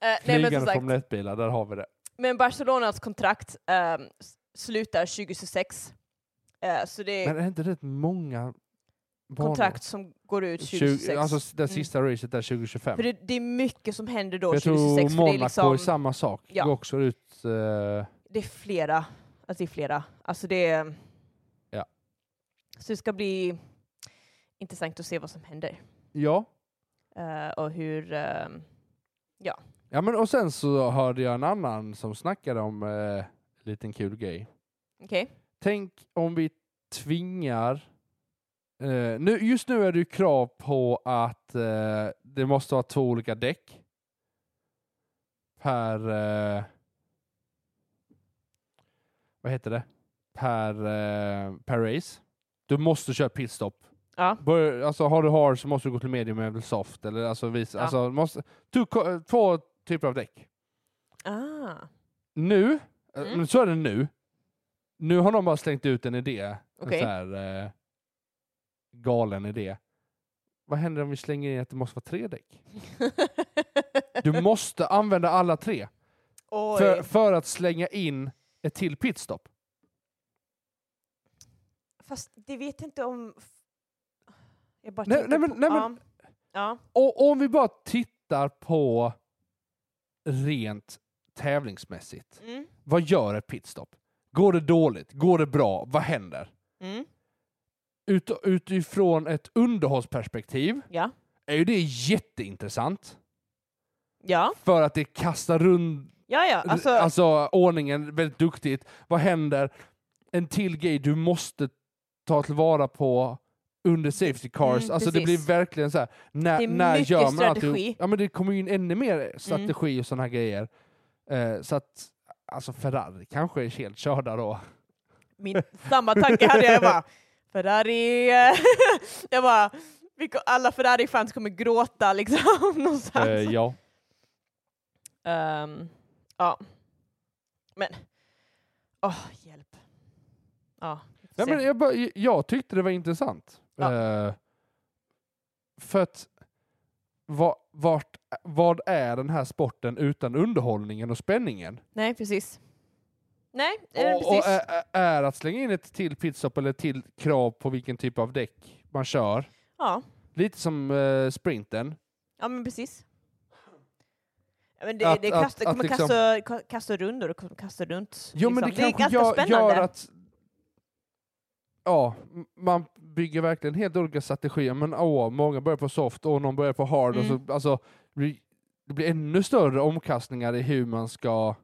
Speaker 1: nej, men
Speaker 2: Flygande
Speaker 1: som sagt,
Speaker 2: Formel 1-bilar, där har vi det.
Speaker 1: Men Barcelonas kontrakt ehm, s- slutar 2026. Eh, så det är
Speaker 2: Men är inte rätt många banor?
Speaker 1: kontrakt som går ut
Speaker 2: 20,
Speaker 1: 2026.
Speaker 2: alltså det
Speaker 1: Mm.
Speaker 2: sista racet där 2025.
Speaker 1: För det, det är mycket som händer då
Speaker 2: jag
Speaker 1: 2026.
Speaker 2: tror
Speaker 1: För det, är
Speaker 2: Monaco är
Speaker 1: liksom,
Speaker 2: samma sak.
Speaker 1: Ja.
Speaker 2: Går också ut... eh,
Speaker 1: det är flera. Alltså det är flera. Alltså det är...
Speaker 2: Ja.
Speaker 1: Så det ska bli intressant att se vad som händer.
Speaker 2: ja.
Speaker 1: Eh, och hur... ehm,
Speaker 2: Ja men och sen så hörde jag en annan som snackade om eh, liten kul grej.
Speaker 1: Okej.
Speaker 2: Tänk om vi tvingar... Eh, nu, just nu är det ju krav på att eh, det måste vara två olika däck per... Eh, vad heter det? Per, eh, per race. Du måste köra pitstop.
Speaker 1: Ja.
Speaker 2: Bör, alltså har du hard så måste du gå till medium eller soft. Eller alltså, vis,
Speaker 1: Ja.
Speaker 2: alltså måste, tu, två typer av däck
Speaker 1: Ah,
Speaker 2: nu, eh,
Speaker 1: Mm.
Speaker 2: men så är det nu, nu har de bara slängt ut en idé.
Speaker 1: Okej.
Speaker 2: En så här, eh, galen idé. Vad händer om vi slänger in att det måste vara tre däck?
Speaker 1: (laughs)
Speaker 2: Du måste använda alla tre
Speaker 1: Oj.
Speaker 2: för, för att slänga in ett till pitstop.
Speaker 1: Fast det vet jag inte om... Jag bara
Speaker 2: Nej,
Speaker 1: tänker
Speaker 2: nej, men-
Speaker 1: på-
Speaker 2: nej, men-
Speaker 1: ja. Ja.
Speaker 2: Och om vi bara tittar på rent tävlingsmässigt.
Speaker 1: Mm.
Speaker 2: Vad gör ett pitstop? Går det dåligt? Går det bra? Vad händer?
Speaker 1: Mm.
Speaker 2: Ut, utifrån ett underhållsperspektiv
Speaker 1: Ja.
Speaker 2: är ju det jätteintressant.
Speaker 1: Ja.
Speaker 2: För att det kastar runt
Speaker 1: Ja, ja. Alltså,
Speaker 2: alltså, ordningen väldigt duktigt. Vad händer? En till grej du måste ta tillvara på under safety cars.
Speaker 1: Mm,
Speaker 2: alltså det blir
Speaker 1: precis.
Speaker 2: verkligen så här. När,
Speaker 1: Det är
Speaker 2: när
Speaker 1: mycket
Speaker 2: gör man allt?
Speaker 1: strategi. Mm.
Speaker 2: Ja men det kommer ju in ännu mer strategi och sådana här grejer. Eh, så att alltså Ferrari kanske är helt körda då.
Speaker 1: min, samma tanke hade jag. Jag bara, Ferrari... (laughs) eh, jag bara, vi ko- alla Ferrari-fans kommer gråta liksom (laughs) någonstans.
Speaker 2: Eh, ja.
Speaker 1: Ehm, ja. Men... Åh, hjälp. Ja. vi får
Speaker 2: Ja,
Speaker 1: se.
Speaker 2: men jag, bara, jag tyckte det var intressant.
Speaker 1: Ja.
Speaker 2: Eh, för att va, vart, vad är den här sporten utan underhållningen och spänningen?
Speaker 1: Nej, precis. Nej, eh, precis.
Speaker 2: Och, och är, är- är att slänga in ett till pitstop eller ett till krav på vilken typ av däck man kör.
Speaker 1: ja.
Speaker 2: Lite som eh, sprinten.
Speaker 1: ja, men precis. Ja, men det,
Speaker 2: Att-
Speaker 1: det,
Speaker 2: att-
Speaker 1: kasta,
Speaker 2: att
Speaker 1: kommer
Speaker 2: liksom-
Speaker 1: kasta, ka- kasta rundor och kommer kasta runt.
Speaker 2: Jo men
Speaker 1: Typ, liksom.
Speaker 2: det kanske
Speaker 1: är ganska
Speaker 2: gör,
Speaker 1: spännande.
Speaker 2: gör att ja, m- man bygger verkligen helt olika strategier. Men åh, många börjar på soft och någon börjar på hard. Och
Speaker 1: Mm.
Speaker 2: så, alltså, det, blir, det blir ännu större omkastningar i hur man ska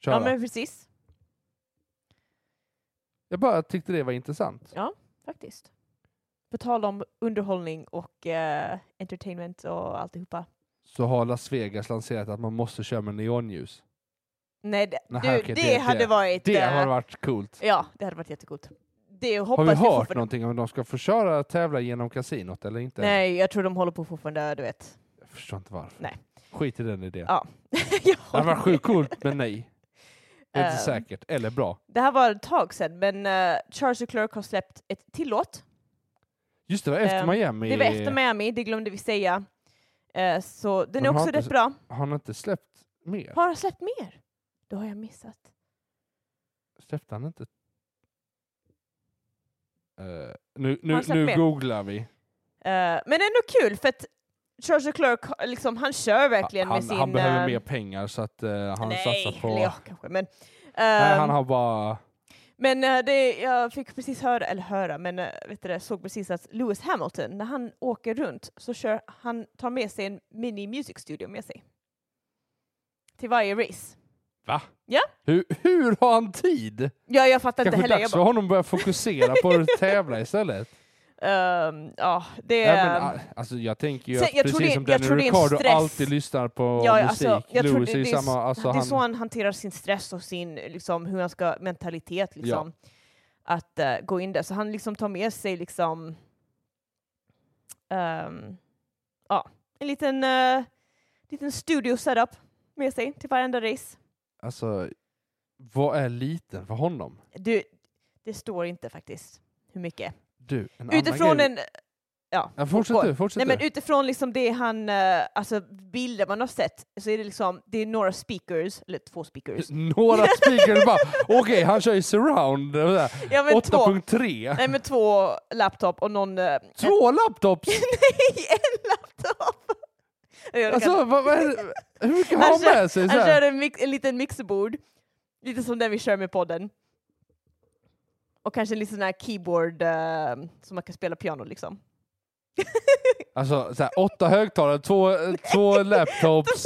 Speaker 2: köra.
Speaker 1: Ja men precis,
Speaker 2: Jag bara tyckte det var intressant.
Speaker 1: faktiskt. På tal om underhållning och eh, entertainment och alltihopa.
Speaker 2: Så har Las Vegas lanserat att man måste köra med neonljus.
Speaker 1: Nej, det,
Speaker 2: Nej,
Speaker 1: du, det,
Speaker 2: okej, det-
Speaker 1: hade
Speaker 2: det-
Speaker 1: varit...
Speaker 2: Det
Speaker 1: eh,
Speaker 2: har varit coolt.
Speaker 1: Ja, det hade varit jättekul. Det hoppas
Speaker 2: Har vi
Speaker 1: jag
Speaker 2: hört
Speaker 1: fortfarande-
Speaker 2: någonting om de ska få köra och tävla genom kasinot eller inte?
Speaker 1: Nej, jag tror de håller på fortfarande, du vet. (laughs)
Speaker 2: Jag förstår inte varför.
Speaker 1: Nej.
Speaker 2: Skit i den idén.
Speaker 1: Ja,
Speaker 2: det hade varit sjukt coolt, men nej. Det är inte
Speaker 1: Ehm.
Speaker 2: säkert. Eller bra.
Speaker 1: Det här var ett tag sedan, men eh, Charles och Clark har släppt ett till låt.
Speaker 2: Just det, det var efter
Speaker 1: Ehm,
Speaker 2: Miami.
Speaker 1: Det var efter Miami, det glömde vi säga. Eh, så den är
Speaker 2: Men har
Speaker 1: också
Speaker 2: inte
Speaker 1: rätt
Speaker 2: s-
Speaker 1: bra.
Speaker 2: Har han inte släppt mer?
Speaker 1: Har han släppt mer? Då har jag missat.
Speaker 2: Släppte han inte? Eh, nu nu,
Speaker 1: han släppt
Speaker 2: nu
Speaker 1: mer?
Speaker 2: googlar vi.
Speaker 1: Eh, men ändå kul, för att Charles och Clark, har- liksom, han kör verkligen
Speaker 2: han,
Speaker 1: med sin...
Speaker 2: han behöver
Speaker 1: eh,
Speaker 2: mer pengar så att eh, han
Speaker 1: nej,
Speaker 2: satsar på...
Speaker 1: eller ja, kanske, men...
Speaker 2: Nej,
Speaker 1: ehm,
Speaker 2: han har bara...
Speaker 1: Men eh, det, jag fick precis höra, eller höra, men eh, vet du, det, såg precis att Lewis Hamilton, när han åker runt så kör, han tar med sig en mini music studio med sig. Till varje race.
Speaker 2: Va?
Speaker 1: Ja.
Speaker 2: Hur, hur har han tid?
Speaker 1: Ja, jag fattar inte
Speaker 2: Kanske
Speaker 1: heller. Jag
Speaker 2: dags för
Speaker 1: bara,
Speaker 2: honom att börja fokusera på att
Speaker 1: (laughs)
Speaker 2: tävla istället.
Speaker 1: ehm, ja, det...
Speaker 2: Nej, men, a- alltså, jag tänker ju
Speaker 1: Sen-
Speaker 2: att
Speaker 1: Ehm. jag tror det-
Speaker 2: precis som
Speaker 1: jag
Speaker 2: Danny
Speaker 1: tror det är en
Speaker 2: Ricardo
Speaker 1: stress.
Speaker 2: alltid lyssnar på
Speaker 1: ja,
Speaker 2: musik.
Speaker 1: alltså, jag tror
Speaker 2: Lewis
Speaker 1: det,
Speaker 2: är
Speaker 1: det,
Speaker 2: ju
Speaker 1: är, s-
Speaker 2: samma. Alltså,
Speaker 1: det är
Speaker 2: han,
Speaker 1: så han hanterar sin stress och sin, liksom, hur han ska, mentalitet liksom. Att eh, gå in där. Så han liksom tar med sig liksom, ehm, ja, en liten, eh, liten studio setup med sig till varenda race.
Speaker 2: alltså, vad är liten för honom?
Speaker 1: Du, det står inte faktiskt hur mycket.
Speaker 2: Du, en annan
Speaker 1: Utifrån
Speaker 2: grej.
Speaker 1: en, ja,
Speaker 2: Ja, fortsätt
Speaker 1: fotboll.
Speaker 2: du, fortsätt
Speaker 1: Nej, men
Speaker 2: du.
Speaker 1: utifrån liksom det han, eh, alltså bilder man har sett, så är det liksom, det är några speakers, eller två
Speaker 2: (laughs)
Speaker 1: speakers. (laughs)
Speaker 2: Några speakers bara, okej han kör ju surround, och sådär.
Speaker 1: Ja, men två.
Speaker 2: 8.3.
Speaker 1: Nej men två laptop och någon... eh, en-
Speaker 2: Två
Speaker 1: (laughs)
Speaker 2: laptops!
Speaker 1: Nej, en laptop! Jag
Speaker 2: Alltså
Speaker 1: kan-
Speaker 2: vad, vad är det? hur mycket har
Speaker 1: Han
Speaker 2: han
Speaker 1: kör-
Speaker 2: med sig?
Speaker 1: Han
Speaker 2: Såhär?
Speaker 1: kör en, mix, en liten mixerbord, lite som den vi kör med podden. Och kanske en liten sån här keyboard eh, som man kan spela piano liksom.
Speaker 2: Alltså såhär, åtta högtalare, två, eh,
Speaker 1: (laughs)
Speaker 2: två laptops.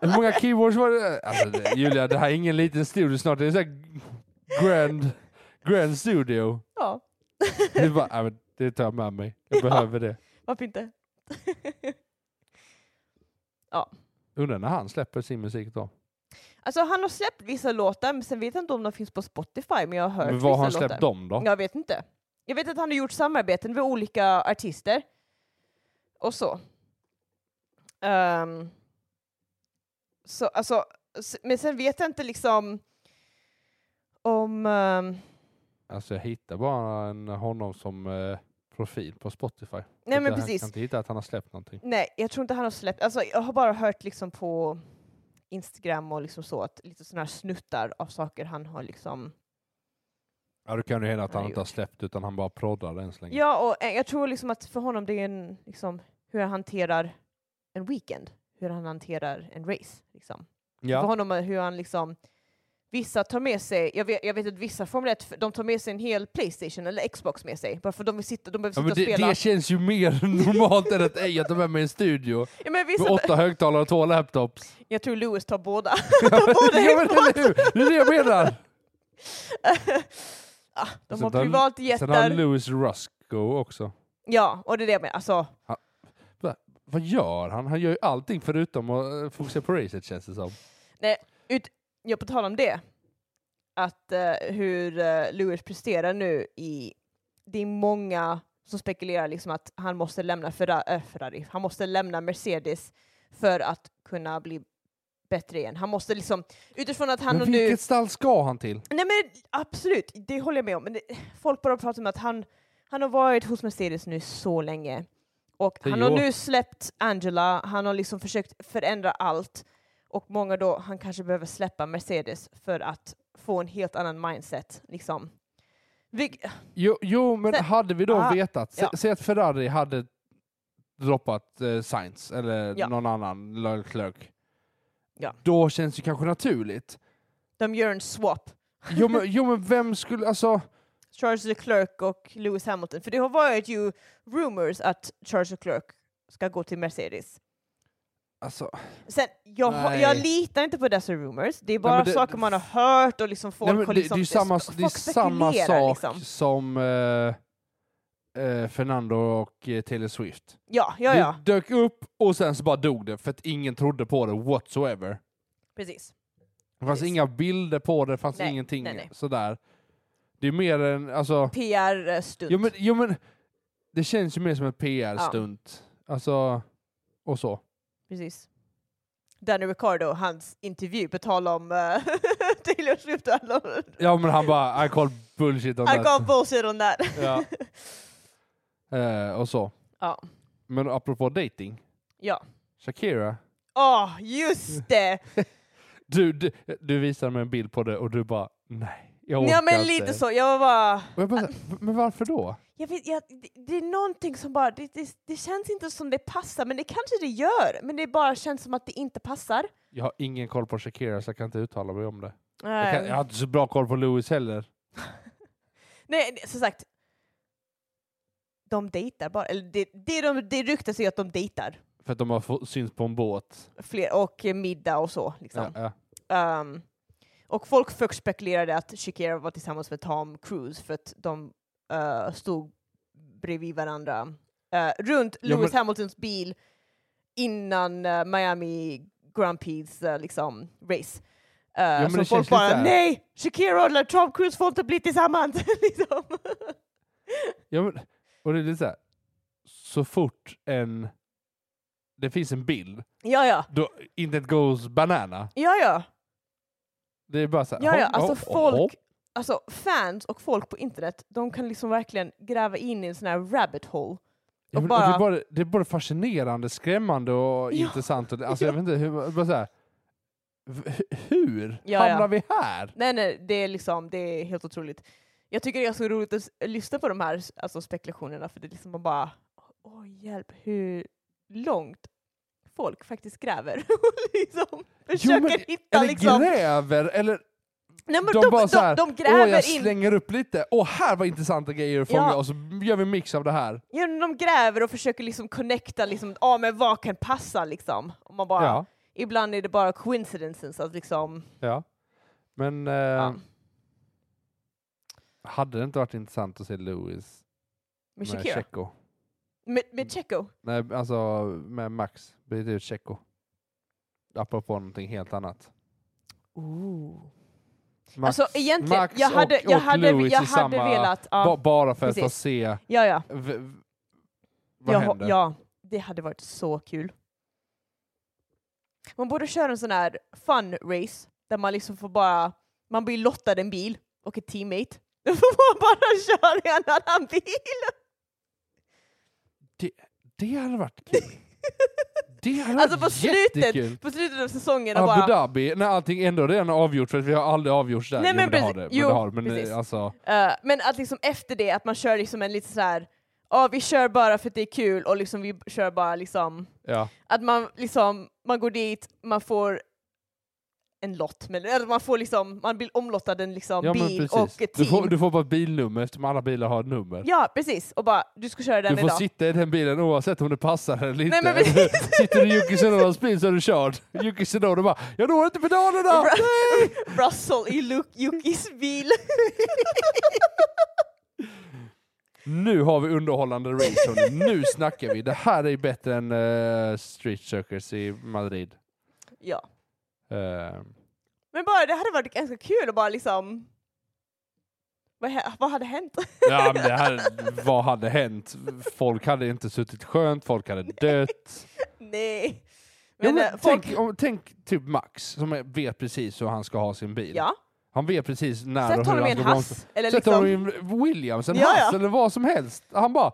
Speaker 2: Hur många keyboards var det? Alltså, det- Julia, det här är ingen liten studio snart, det är såhär grand, grand studio.
Speaker 1: ja,
Speaker 2: Du bara, "Nej, men det tar jag med mig, jag
Speaker 1: (laughs) Ja.
Speaker 2: behöver det.
Speaker 1: (laughs) varför inte?
Speaker 2: Undrar när han släpper sin musik då?
Speaker 1: Alltså han har släppt vissa låtar, men sen vet jag inte om de finns på Spotify, men jag har hört
Speaker 2: Men
Speaker 1: vissa
Speaker 2: vad har han
Speaker 1: låtar.
Speaker 2: släppt dem då?
Speaker 1: Jag vet inte. Jag vet att han har gjort samarbeten med olika artister. Och så. Ehm, så alltså, s- men sen vet jag inte liksom om... ehm,
Speaker 2: Alltså jag hittar bara en, honom som eh, profil på Spotify.
Speaker 1: nej
Speaker 2: Så
Speaker 1: men
Speaker 2: jag
Speaker 1: precis.
Speaker 2: kan inte hitta att han har släppt någonting.
Speaker 1: Nej, jag tror inte han har släppt. Alltså, jag har bara hört liksom på Instagram och liksom så att lite sådana här snuttar av saker han har liksom...
Speaker 2: Ja, då kan det hända att
Speaker 1: Han
Speaker 2: han
Speaker 1: har
Speaker 2: inte har släppt utan han bara proddar än så länge.
Speaker 1: Ja, och eh, jag tror liksom att för honom det är en, liksom, hur han hanterar en weekend, hur han hanterar en race. Liksom. för
Speaker 2: Ja.
Speaker 1: honom är hur han liksom Vissa tar med sig, jag vet, jag vet att vissa Formel 1, de tar med sig en hel Playstation eller Xbox med sig, bara för de, vill sitta, de behöver sitta
Speaker 2: men
Speaker 1: och
Speaker 2: det,
Speaker 1: spela.
Speaker 2: det känns
Speaker 1: (laughs)
Speaker 2: ju mer normalt än att ej, jag tar med mig en studio
Speaker 1: ja, men
Speaker 2: med
Speaker 1: vissa,
Speaker 2: åtta högtalare och två
Speaker 1: (laughs)
Speaker 2: laptops.
Speaker 1: jag tror Lewis tar
Speaker 2: (laughs)
Speaker 1: båda. (laughs)
Speaker 2: ja, men,
Speaker 1: det
Speaker 2: eller hur? det är det jag menar!
Speaker 1: (laughs) ah, de
Speaker 2: Sen
Speaker 1: har
Speaker 2: har- Sen har
Speaker 1: privatjättar.
Speaker 2: Louis Rusko också.
Speaker 1: Ja, och det är det jag menar. Alltså,
Speaker 2: Vad gör han? Han gör ju allting förutom att eh, fokusera på racet känns det som.
Speaker 1: jag på tal om det, att eh, hur eh, Lewis presterar nu i... Det är många som spekulerar liksom att han måste lämna Ferra- eh, Ferrari, han måste lämna Mercedes för att kunna bli bättre igen. Han måste liksom, utifrån att han
Speaker 2: men
Speaker 1: och nu...
Speaker 2: vilket stall ska han till?
Speaker 1: Nej men absolut, det håller jag med om. Men det, folk bara pratar om att han, han har varit hos Mercedes nu så länge. Och
Speaker 2: Tio
Speaker 1: han har
Speaker 2: år.
Speaker 1: nu släppt Angela, han har liksom försökt förändra allt. Och många då, han kanske behöver släppa Mercedes för att få en helt annan mindset. Liksom. Vilk,
Speaker 2: Jo, jo men
Speaker 1: Sen-
Speaker 2: hade vi då
Speaker 1: Ah,
Speaker 2: vetat, sä-
Speaker 1: ja.
Speaker 2: säg att Ferrari hade droppat eh, Sainz eller
Speaker 1: Ja.
Speaker 2: någon annan Leclerc.
Speaker 1: Ja.
Speaker 2: Då känns det kanske naturligt.
Speaker 1: de gör en swap.
Speaker 2: Jo men, jo men vem skulle, alltså
Speaker 1: Charles Leclerc och Lewis Hamilton. För det har varit ju rumors att Charles Leclerc ska gå till Mercedes.
Speaker 2: Alltså,
Speaker 1: Sen, jag, har-
Speaker 2: Nej.
Speaker 1: jag litar inte på dessa rumors. Det är bara
Speaker 2: men det-
Speaker 1: saker man har hört och liksom folk
Speaker 2: nej, men
Speaker 1: har
Speaker 2: det,
Speaker 1: liksom...
Speaker 2: det är ju samma,
Speaker 1: folk
Speaker 2: det är samma
Speaker 1: spekulerar
Speaker 2: sak
Speaker 1: liksom.
Speaker 2: som eh, eh, Fernando och eh, Taylor Swift.
Speaker 1: Ja, ja, ja.
Speaker 2: Det dök upp och sen så bara dog det för att ingen trodde på det whatsoever.
Speaker 1: Precis.
Speaker 2: Det fanns
Speaker 1: Precis.
Speaker 2: inga bilder på det, det fanns
Speaker 1: Nej,
Speaker 2: ingenting
Speaker 1: nej, nej.
Speaker 2: sådär. Det är mer en, alltså,
Speaker 1: PR-stunt.
Speaker 2: jo men, jo men, det känns ju mer som en PR-stunt. Alltså, och så.
Speaker 1: Precis. Danny Ricardo, hans intervju, på tal om eh, (laughs) Taylor Swift och alla...
Speaker 2: Ja men han bara, I call bullshit on
Speaker 1: I
Speaker 2: that.
Speaker 1: got bullshit on that.
Speaker 2: Ja. Eh, och så.
Speaker 1: Ja.
Speaker 2: Men apropå dating.
Speaker 1: (laughs) Ja.
Speaker 2: Shakira.
Speaker 1: Åh, just det!
Speaker 2: Du, du, du visar mig en bild på det och du bara, nej. Jag orkar
Speaker 1: Ja men
Speaker 2: inte.
Speaker 1: lite så, jag var bara...
Speaker 2: Och jag bara, "V- men varför då?
Speaker 1: Jag vet, jag, det, det är någonting som bara... Det, det, det känns inte som det passar, men det kanske det gör. Men det bara känns som att det inte passar.
Speaker 2: Jag har ingen koll på Shakira så jag kan inte uttala mig om det. Jag, kan,
Speaker 1: Nej,
Speaker 2: jag har inte så bra koll på Lewis heller.
Speaker 1: Nej, nej, som sagt. De dejtar bara. Eller det, det, de, det ryktas ju att de dejtar.
Speaker 2: För att de har få- synts på en båt.
Speaker 1: Fler, och eh, middag och så. Liksom.
Speaker 2: Ja, ja.
Speaker 1: Ehm, och folk först spekulerade att Shakira var tillsammans med Tom Cruise för att de eh, stod bredvid varandra eh, runt
Speaker 2: Ja,
Speaker 1: Lewis
Speaker 2: men-
Speaker 1: Hamiltons bil innan eh, Miami Grand Prix eh, liksom, race. Uh,
Speaker 2: men
Speaker 1: så
Speaker 2: det
Speaker 1: folk
Speaker 2: känns
Speaker 1: bara
Speaker 2: lite-
Speaker 1: nej, Shakira och Tom Cruise får inte bli tillsammans. (laughs) liksom.
Speaker 2: Ja, men, och det är lite så här. Så fort en... Det finns en bild,
Speaker 1: ja, ja,
Speaker 2: då internet goes banana.
Speaker 1: ja, ja.
Speaker 2: Det är bara så här,
Speaker 1: Ja, ja,
Speaker 2: hopp,
Speaker 1: alltså
Speaker 2: hopp,
Speaker 1: folk-
Speaker 2: hopp.
Speaker 1: Alltså fans och folk på internet, de kan liksom verkligen gräva in i en sån här rabbit hole.
Speaker 2: Ja,
Speaker 1: och
Speaker 2: men, och det,
Speaker 1: bara-
Speaker 2: är bara, det är både fascinerande, skrämmande och
Speaker 1: Ja.
Speaker 2: intressant. Och, alltså, jag
Speaker 1: Ja.
Speaker 2: vet inte, hur, bara så här, v- hur
Speaker 1: Ja,
Speaker 2: hamnar
Speaker 1: ja.
Speaker 2: vi här?
Speaker 1: Nej, nej, det är liksom, det är helt otroligt. Jag tycker det är ganska roligt att s- lyssna på de här alltså, spekulationerna, för det är liksom man bara, åh hjälp, hur långt folk faktiskt gräver (laughs) och liksom försöker
Speaker 2: men-
Speaker 1: hitta
Speaker 2: Eller
Speaker 1: liksom...
Speaker 2: gräver, eller
Speaker 1: Nej, men
Speaker 2: de bara så här,
Speaker 1: de, de
Speaker 2: åh, jag
Speaker 1: gräver in,
Speaker 2: slänger upp lite. Åh, här var intressanta grejer att fånga
Speaker 1: Ja.
Speaker 2: och så gör vi en mix av det här.
Speaker 1: ja, de gräver och försöker liksom connecta liksom, ah, men vad kan passa liksom? Och man bara,
Speaker 2: Ja,
Speaker 1: ibland är det bara coincidences att liksom,
Speaker 2: ja. Men eh,
Speaker 1: ja.
Speaker 2: hade det inte varit intressant att se Lewis
Speaker 1: Med
Speaker 2: med
Speaker 1: Shakira?
Speaker 2: Checo?
Speaker 1: Med, med Checo?
Speaker 2: Nej, alltså med Max. Byt ut Checo. Apropå någonting helt annat. Max,
Speaker 1: Alltså egentligen,
Speaker 2: Max
Speaker 1: jag hade,
Speaker 2: och,
Speaker 1: jag
Speaker 2: och
Speaker 1: hade,
Speaker 2: Lewis
Speaker 1: jag
Speaker 2: i
Speaker 1: hade
Speaker 2: samma,
Speaker 1: velat... Ja,
Speaker 2: ba- bara för att
Speaker 1: precis.
Speaker 2: få se
Speaker 1: ja, ja.
Speaker 2: v, v, vad
Speaker 1: Jag,
Speaker 2: händer.
Speaker 1: ho- ja, det hade varit så kul. Man borde köra en sån här fun race, där man liksom får bara... Man blir lottad en bil och ett teammate. (laughs) Då får man bara köra i en annan bil!
Speaker 2: Det
Speaker 1: (laughs)
Speaker 2: hade varit kul. Det hade
Speaker 1: Alltså
Speaker 2: varit
Speaker 1: på
Speaker 2: jättekul.
Speaker 1: slutet, på slutet av säsongen och
Speaker 2: Abu
Speaker 1: bara...
Speaker 2: Dhabi, när allting ändå redan är avgjort, för att vi har aldrig avgjorts där.
Speaker 1: Nej,
Speaker 2: Jo,
Speaker 1: men
Speaker 2: det har det.
Speaker 1: precis.
Speaker 2: Men
Speaker 1: Jo,
Speaker 2: det har, men
Speaker 1: precis.
Speaker 2: eh, alltså,
Speaker 1: Eh, men att liksom efter det, att man kör liksom en lite så här... Ja, vi kör bara för att det är kul och liksom vi kör bara liksom...
Speaker 2: ja.
Speaker 1: Att man liksom, man går dit, man får en lott, men, eller man får liksom, man blir omlottad en liksom
Speaker 2: ja men
Speaker 1: bil
Speaker 2: precis.
Speaker 1: och ett
Speaker 2: du,
Speaker 1: team.
Speaker 2: får, du får bara ett bilnummer eftersom alla bilar har ett nummer.
Speaker 1: Ja, precis. Och bara, du ska köra den
Speaker 2: Du får
Speaker 1: idag.
Speaker 2: sitta i den bilen oavsett om det passar eller inte.
Speaker 1: men precis.
Speaker 2: (laughs) Sitter du i Jocke Sonodas bil så är du körd. Jocke Sonoda bara ”Jag når inte pedalerna!”
Speaker 1: Bra- (laughs) Russell i Lu- Yukis bil. (laughs)
Speaker 2: Nu har vi underhållande race hörni. Nu snackar vi. Det här är bättre än eh, Street Circus i Madrid.
Speaker 1: ja.
Speaker 2: Eh,
Speaker 1: Men bara, det hade varit ganska kul att bara liksom... Vad, hä- vad hade hänt?
Speaker 2: ja, men det här, vad hade hänt? Folk hade inte suttit skönt, folk hade dött.
Speaker 1: (laughs) Nej.
Speaker 2: Ja,
Speaker 1: Men,
Speaker 2: men
Speaker 1: eh, folk...
Speaker 2: tänk, om, tänk typ Max som är- vet precis hur han ska ha sin bil.
Speaker 1: Ja.
Speaker 2: Han vet precis när och
Speaker 1: Sätt
Speaker 2: hur
Speaker 1: honom i
Speaker 2: han
Speaker 1: en
Speaker 2: ska bromsa.
Speaker 1: hass. Eller
Speaker 2: Sätt
Speaker 1: liksom,
Speaker 2: honom i en Williams, en
Speaker 1: Ja,
Speaker 2: hass
Speaker 1: ja.
Speaker 2: eller vad som helst. Han bara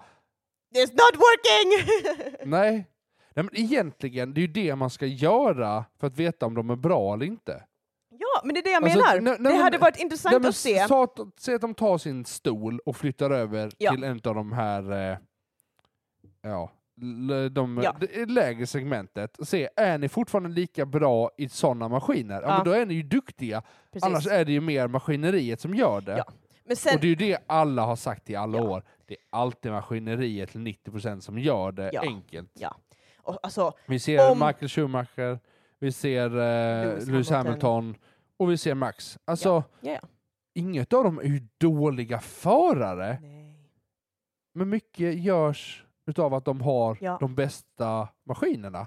Speaker 1: It's not working! (laughs)
Speaker 2: Nej. Nej men egentligen, det är ju det man ska göra för att veta om de är bra eller inte.
Speaker 1: ja, men det är det jag
Speaker 2: Alltså,
Speaker 1: menar.
Speaker 2: nej- nej,
Speaker 1: det
Speaker 2: men-
Speaker 1: hade varit intressant
Speaker 2: Nej, men
Speaker 1: att se.
Speaker 2: s- sa att- Säg att de tar sin stol och flyttar över
Speaker 1: Ja.
Speaker 2: till en av de här, eh, ja, l- de,
Speaker 1: Ja.
Speaker 2: det lägre segmentet. Och se, är ni fortfarande lika bra i sådana maskiner? Ja,
Speaker 1: Ja.
Speaker 2: men då är ni ju duktiga.
Speaker 1: Precis.
Speaker 2: Annars är det ju mer maskineriet som gör det.
Speaker 1: Ja. Men sen,
Speaker 2: Och det är ju det alla har sagt i alla
Speaker 1: Ja.
Speaker 2: år. Det är alltid maskineriet till 90% som gör det
Speaker 1: Ja.
Speaker 2: enkelt.
Speaker 1: och, alltså,
Speaker 2: Vi ser
Speaker 1: Om-
Speaker 2: Michael Schumacher, vi ser eh, Lewis, Hamilton.
Speaker 1: Hamilton.
Speaker 2: och vi ser Max. Alltså,
Speaker 1: ja, ja.
Speaker 2: inget av dem är ju dåliga förare,
Speaker 1: Nej.
Speaker 2: men mycket görs utav att de har
Speaker 1: Ja.
Speaker 2: de bästa maskinerna.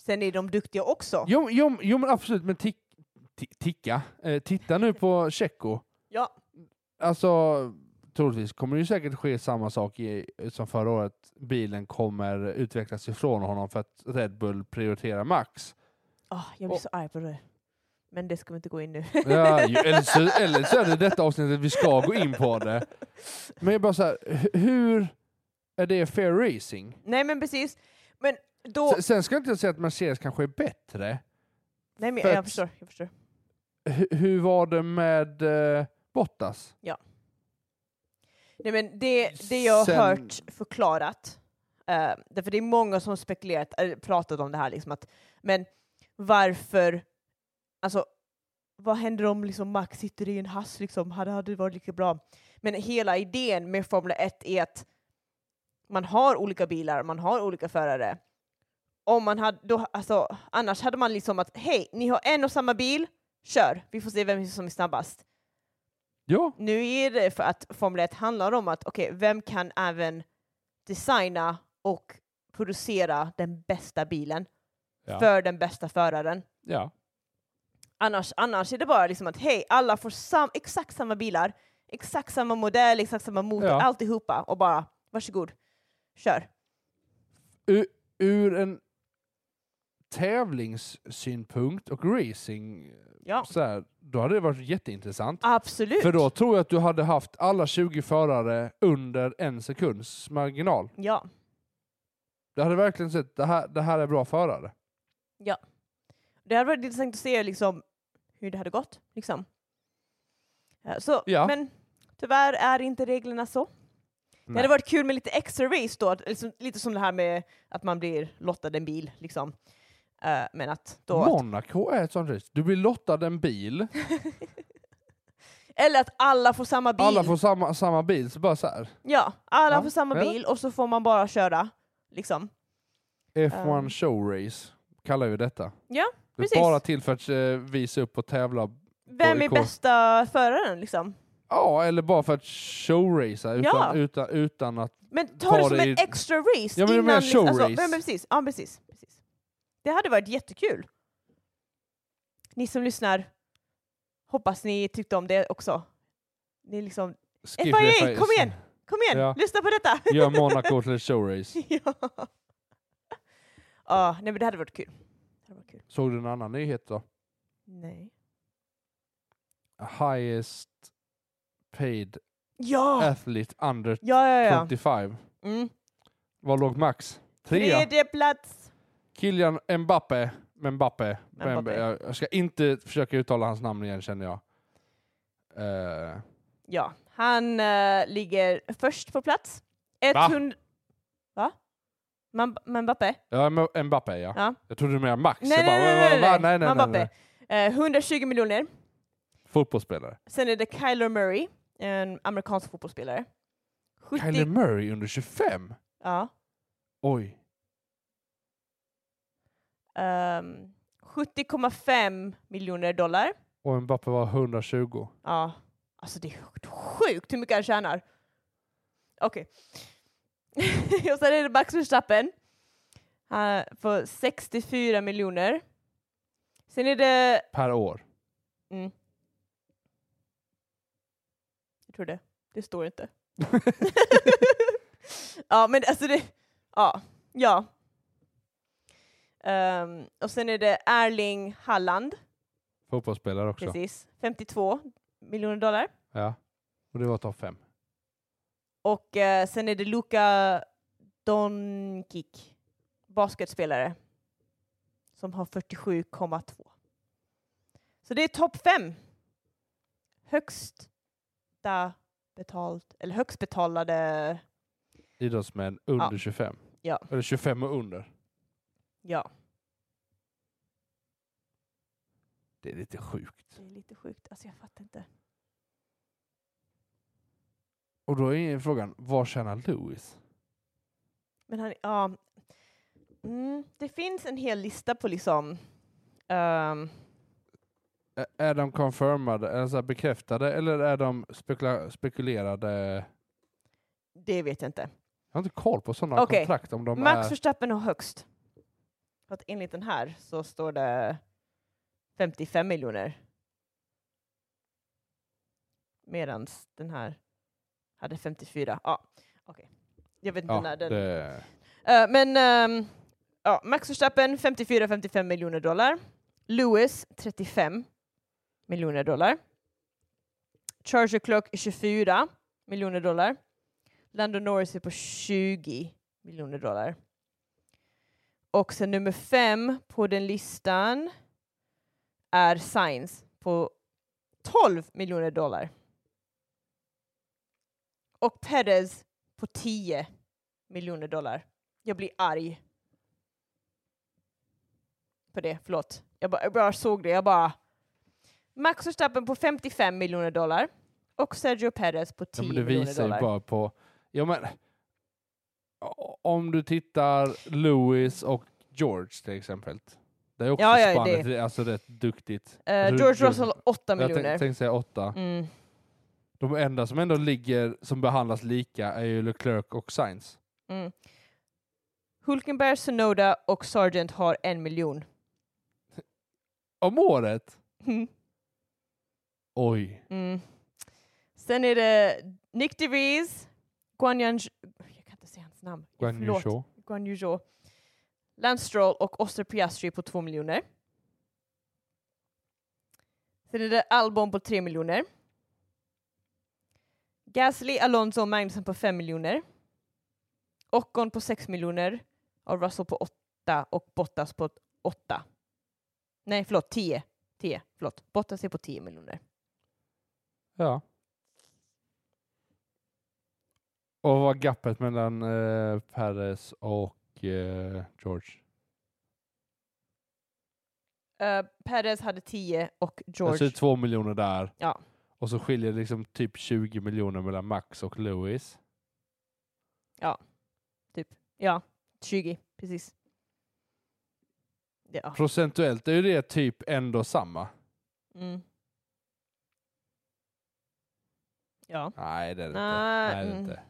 Speaker 1: sen är de duktiga också.
Speaker 2: Jo, jo, jo men absolut, men tick, ti- ticka. Eh, titta nu på Tjecko.
Speaker 1: Ja.
Speaker 2: Alltså, troligtvis kommer det ju säkert ske samma sak i, som förra året. Bilen kommer utvecklas ifrån honom för att Red Bull prioriterar Max.
Speaker 1: Ah, jag blir
Speaker 2: Och-
Speaker 1: så arg på det. Men det ska vi inte gå in nu.
Speaker 2: Ja, ju-
Speaker 1: (laughs)
Speaker 2: eller, så, eller så är det detta avsnittet vi ska gå in på det. Men jag är bara så här, hu- hur är det fair racing?
Speaker 1: Nej men precis. Men då...
Speaker 2: Sen, sen ska jag inte säga att Mercedes kanske är bättre.
Speaker 1: nej men
Speaker 2: för
Speaker 1: jag
Speaker 2: att-
Speaker 1: förstår, jag förstår.
Speaker 2: Hu- hur var det med eh, Bottas?
Speaker 1: Nej men det, det jag har
Speaker 2: Sen-
Speaker 1: hört förklarat, eh, därför det är många som spekulerat, eller pratat om det här liksom att, men varför, alltså vad händer om liksom Max sitter i en hass liksom, hade, hade det varit lika bra? Men hela idén med Formel 1 är att man har olika bilar, man har olika förare. Om man hade, då, alltså, annars hade man liksom att hej, ni har en och samma bil, kör, vi får se vem som är snabbast.
Speaker 2: Ja,
Speaker 1: Nu är det för att Formel 1 handlar om att okej, vem kan även designa och producera den bästa bilen
Speaker 2: Ja.
Speaker 1: för den bästa föraren?
Speaker 2: ja.
Speaker 1: Annars, annars är det bara liksom att hej, alla får sam, exakt samma bilar, exakt samma modell, exakt samma motor,
Speaker 2: Ja.
Speaker 1: alltihopa och bara varsågod, kör.
Speaker 2: Ur, ur en tävlingssynpunkt och racing,
Speaker 1: Ja,
Speaker 2: så här, då hade det varit jätteintressant.
Speaker 1: absolut.
Speaker 2: För då tror jag att du hade haft alla 20 förare under en sekunds marginal.
Speaker 1: Ja,
Speaker 2: Det hade verkligen sett, det här, det här är bra förare.
Speaker 1: det hade varit intressant att se liksom hur det hade gått. Liksom. Eh, Så,
Speaker 2: Ja.
Speaker 1: men tyvärr är inte reglerna så. Det hade
Speaker 2: Nej.
Speaker 1: varit kul med lite extra race då, att- liksom, lite som det här med att man blir lottad en bil. Liksom. Eh, men att då...
Speaker 2: Monaco är ett sånt race. Du blir lottad en bil,
Speaker 1: eller att alla får samma bil.
Speaker 2: alla får samma, samma bil, så bara så här.
Speaker 1: Ja, alla
Speaker 2: Ja,
Speaker 1: får samma
Speaker 2: eller?
Speaker 1: bil och så får man bara köra. Liksom.
Speaker 2: F1
Speaker 1: Ehm.
Speaker 2: show race kallar vi detta.
Speaker 1: Ja,
Speaker 2: det
Speaker 1: precis.
Speaker 2: är bara till för att eh, visa upp och tävla,
Speaker 1: Vem är
Speaker 2: AIK.
Speaker 1: bästa föraren liksom?
Speaker 2: ja, eller bara för att showracea utan,
Speaker 1: Ja.
Speaker 2: utan, utan att...
Speaker 1: Men ta,
Speaker 2: Ta
Speaker 1: det som
Speaker 2: det
Speaker 1: en
Speaker 2: i-
Speaker 1: extra race
Speaker 2: Ja, men det är
Speaker 1: innan...
Speaker 2: mer
Speaker 1: liksom-
Speaker 2: showrace.
Speaker 1: men precis. Ja, precis, precis. Det hade varit jättekul. Ni som lyssnar, hoppas ni tyckte om det också. Ni är liksom,
Speaker 2: Skip
Speaker 1: FIA,
Speaker 2: det.
Speaker 1: kom igen! kom igen,
Speaker 2: Ja.
Speaker 1: lyssna på detta!
Speaker 2: Gör
Speaker 1: (laughs)
Speaker 2: Monaco till ett showrace.
Speaker 1: ja. Ja, nej men det hade varit kul. Det hade varit kul.
Speaker 2: Såg du en annan nyhet då?
Speaker 1: Nej.
Speaker 2: Highest paid
Speaker 1: Ja!
Speaker 2: athlete under
Speaker 1: Ja, Ah. ja, ja.
Speaker 2: 25.
Speaker 1: Mm.
Speaker 2: Var låg Max? Trea.
Speaker 1: Tredje plats.
Speaker 2: Kylian Mbappe. Mbappe.
Speaker 1: Mbappé.
Speaker 2: Mbappé. Jag jag ska inte försöka uttala hans namn igen känner jag. Eh,
Speaker 1: Ja, han eh, ligger först på plats.
Speaker 2: Va?
Speaker 1: 100... Va? Man, man Mbappé?
Speaker 2: ja, M- Mbappé ja.
Speaker 1: Ja.
Speaker 2: Jag trodde du menade Max.
Speaker 1: Nej,
Speaker 2: jag bara,
Speaker 1: nej,
Speaker 2: va,
Speaker 1: nej,
Speaker 2: va, va?
Speaker 1: nej,
Speaker 2: nej, nej, nej,
Speaker 1: Mbappé.
Speaker 2: nej.
Speaker 1: Eh, 120 miljoner.
Speaker 2: Fotbollsspelare.
Speaker 1: Sen är det Kyler Murray, en amerikansk fotbollsspelare. 70...
Speaker 2: Kyler Murray under 25?
Speaker 1: ja.
Speaker 2: Oj.
Speaker 1: ehm, 70,5 miljoner dollar.
Speaker 2: Och Mbappé var 120.
Speaker 1: Ja. Alltså det är sjukt- sjukt hur mycket han tjänar. Okej. (laughs) och sen är det Max Verstappen. Han får 64 miljoner. Sen är det...
Speaker 2: Per år.
Speaker 1: Mm. Jag tror det. Det står inte. ja, men alltså det... Ja. Ja. Ehm, och sen är det Erling Haaland.
Speaker 2: Fotbollsspelare också.
Speaker 1: Precis. 52 miljoner dollar.
Speaker 2: Ja. Och det var topp fem.
Speaker 1: Och eh, sen är det Luka Doncic, basketspelare, som har 47,2. Så det är topp fem. Högst da- betalt, eller högst betalade,
Speaker 2: Idrottsmän under
Speaker 1: Ja.
Speaker 2: 25.
Speaker 1: Ja.
Speaker 2: Eller 25 och under.
Speaker 1: ja,
Speaker 2: Det är lite sjukt.
Speaker 1: det är lite sjukt. Alltså jag fattar inte.
Speaker 2: Och då är frågan, vad tjänar Lewis?
Speaker 1: Men han, ja. Mm, det finns en hel lista på liksom... ehm,
Speaker 2: Ä- Är de confirmade, alltså bekräftade, eller är de spekula- spekulerade?
Speaker 1: det vet jag inte.
Speaker 2: Jag har inte koll på sådana
Speaker 1: Okej.
Speaker 2: kontrakt om de
Speaker 1: Max
Speaker 2: är...
Speaker 1: Verstappen har högst. För att enligt den här så står det 55 miljoner. Medan den här hade 54. Ja, okej. Jag vet inte
Speaker 2: Ja,
Speaker 1: när den...
Speaker 2: det...
Speaker 1: Eh, men ehm, ja, Max Verstappen 54-55 miljoner dollar. Lewis 35 miljoner dollar. Charles Leclerc 24 miljoner dollar. Lando Norris är på 20 miljoner dollar. Och sen nummer fem på den listan är Sainz på 12 miljoner dollar. Och Perez på 10 miljoner dollar. Jag blir arg. På det, förlåt. Jag bara, jag bara såg det, jag bara... Max Verstappen på 55 miljoner dollar och Sergio Perez på 10
Speaker 2: Ja, men det
Speaker 1: miljoner dollar.
Speaker 2: visar ju bara på... Ja, men, o- om du tittar Lewis och George till exempel. Det är också
Speaker 1: Ja, ja,
Speaker 2: spannet,
Speaker 1: det-
Speaker 2: det är alltså rätt duktigt.
Speaker 1: Eh,
Speaker 2: Alltså,
Speaker 1: George
Speaker 2: George-
Speaker 1: Russell 8
Speaker 2: Jag tänkte,
Speaker 1: miljoner.
Speaker 2: tänkte säga åtta.
Speaker 1: Mm.
Speaker 2: De enda som ändå ligger, som behandlas lika, är ju Leclerc och Sainz.
Speaker 1: Mm. Hulkenberg, Sonoda och Sargent har en miljon. (laughs)
Speaker 2: Om året?
Speaker 1: Mm.
Speaker 2: Oj.
Speaker 1: Mm. Sen är det Nick DeVries, Guanyan... Jag kan inte säga hans namn.
Speaker 2: Guan Yu
Speaker 1: Förlåt.
Speaker 2: Zhou.
Speaker 1: Guan Yu Zhou. Lance Stroll och Oster Piastri på 2 miljoner. Sen är det Albon på 3 miljoner. Gasly, Alonso och Magnusson på 5 miljoner. Ocon på 6 miljoner. Och Russell på 8 och Bottas på 8. Nej, förlåt, 10. 10, förlåt. Bottas är på 10 miljoner.
Speaker 2: Ja. Och vad var gappet mellan eh, Perez och eh, George?
Speaker 1: Eh, Perez hade 10 och
Speaker 2: George. Alltså
Speaker 1: George...
Speaker 2: det är två miljoner där.
Speaker 1: Ja.
Speaker 2: Och så skiljer det liksom typ 20 miljoner mellan Max och Lewis.
Speaker 1: Ja, 20, precis. Ja.
Speaker 2: Procentuellt är ju det typ ändå samma.
Speaker 1: Mm. Ja.
Speaker 2: Nej det är det inte.
Speaker 1: Nej,
Speaker 2: Nej det är det
Speaker 1: mm.
Speaker 2: inte.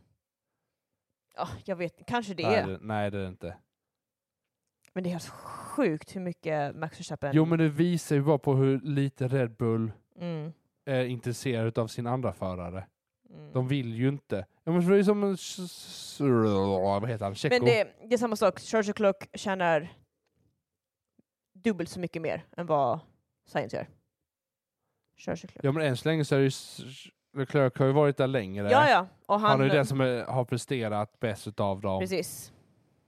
Speaker 1: ja, jag vet Kanske det.
Speaker 2: Nej,
Speaker 1: är.
Speaker 2: det, nej det är det inte.
Speaker 1: Men det är helt sjukt hur mycket Max Verstappen...
Speaker 2: Jo men det visar ju bara på hur lite Red Bull
Speaker 1: Mm.
Speaker 2: är intresserad av sin andra förare.
Speaker 1: Mm.
Speaker 2: De vill ju inte. Ja men för det är ju som en... s- s- Vad heter han? Checo?
Speaker 1: Men det, det är samma sak. Charles Clock tjänar dubbelt så mycket mer än vad Science gör. Charles Clock.
Speaker 2: Ja men än så länge så är det ju... s- Leclerc har ju varit där längre.
Speaker 1: Ja, ja. Och han...
Speaker 2: Han, är ju den som är, har presterat bäst utav dem.
Speaker 1: Precis.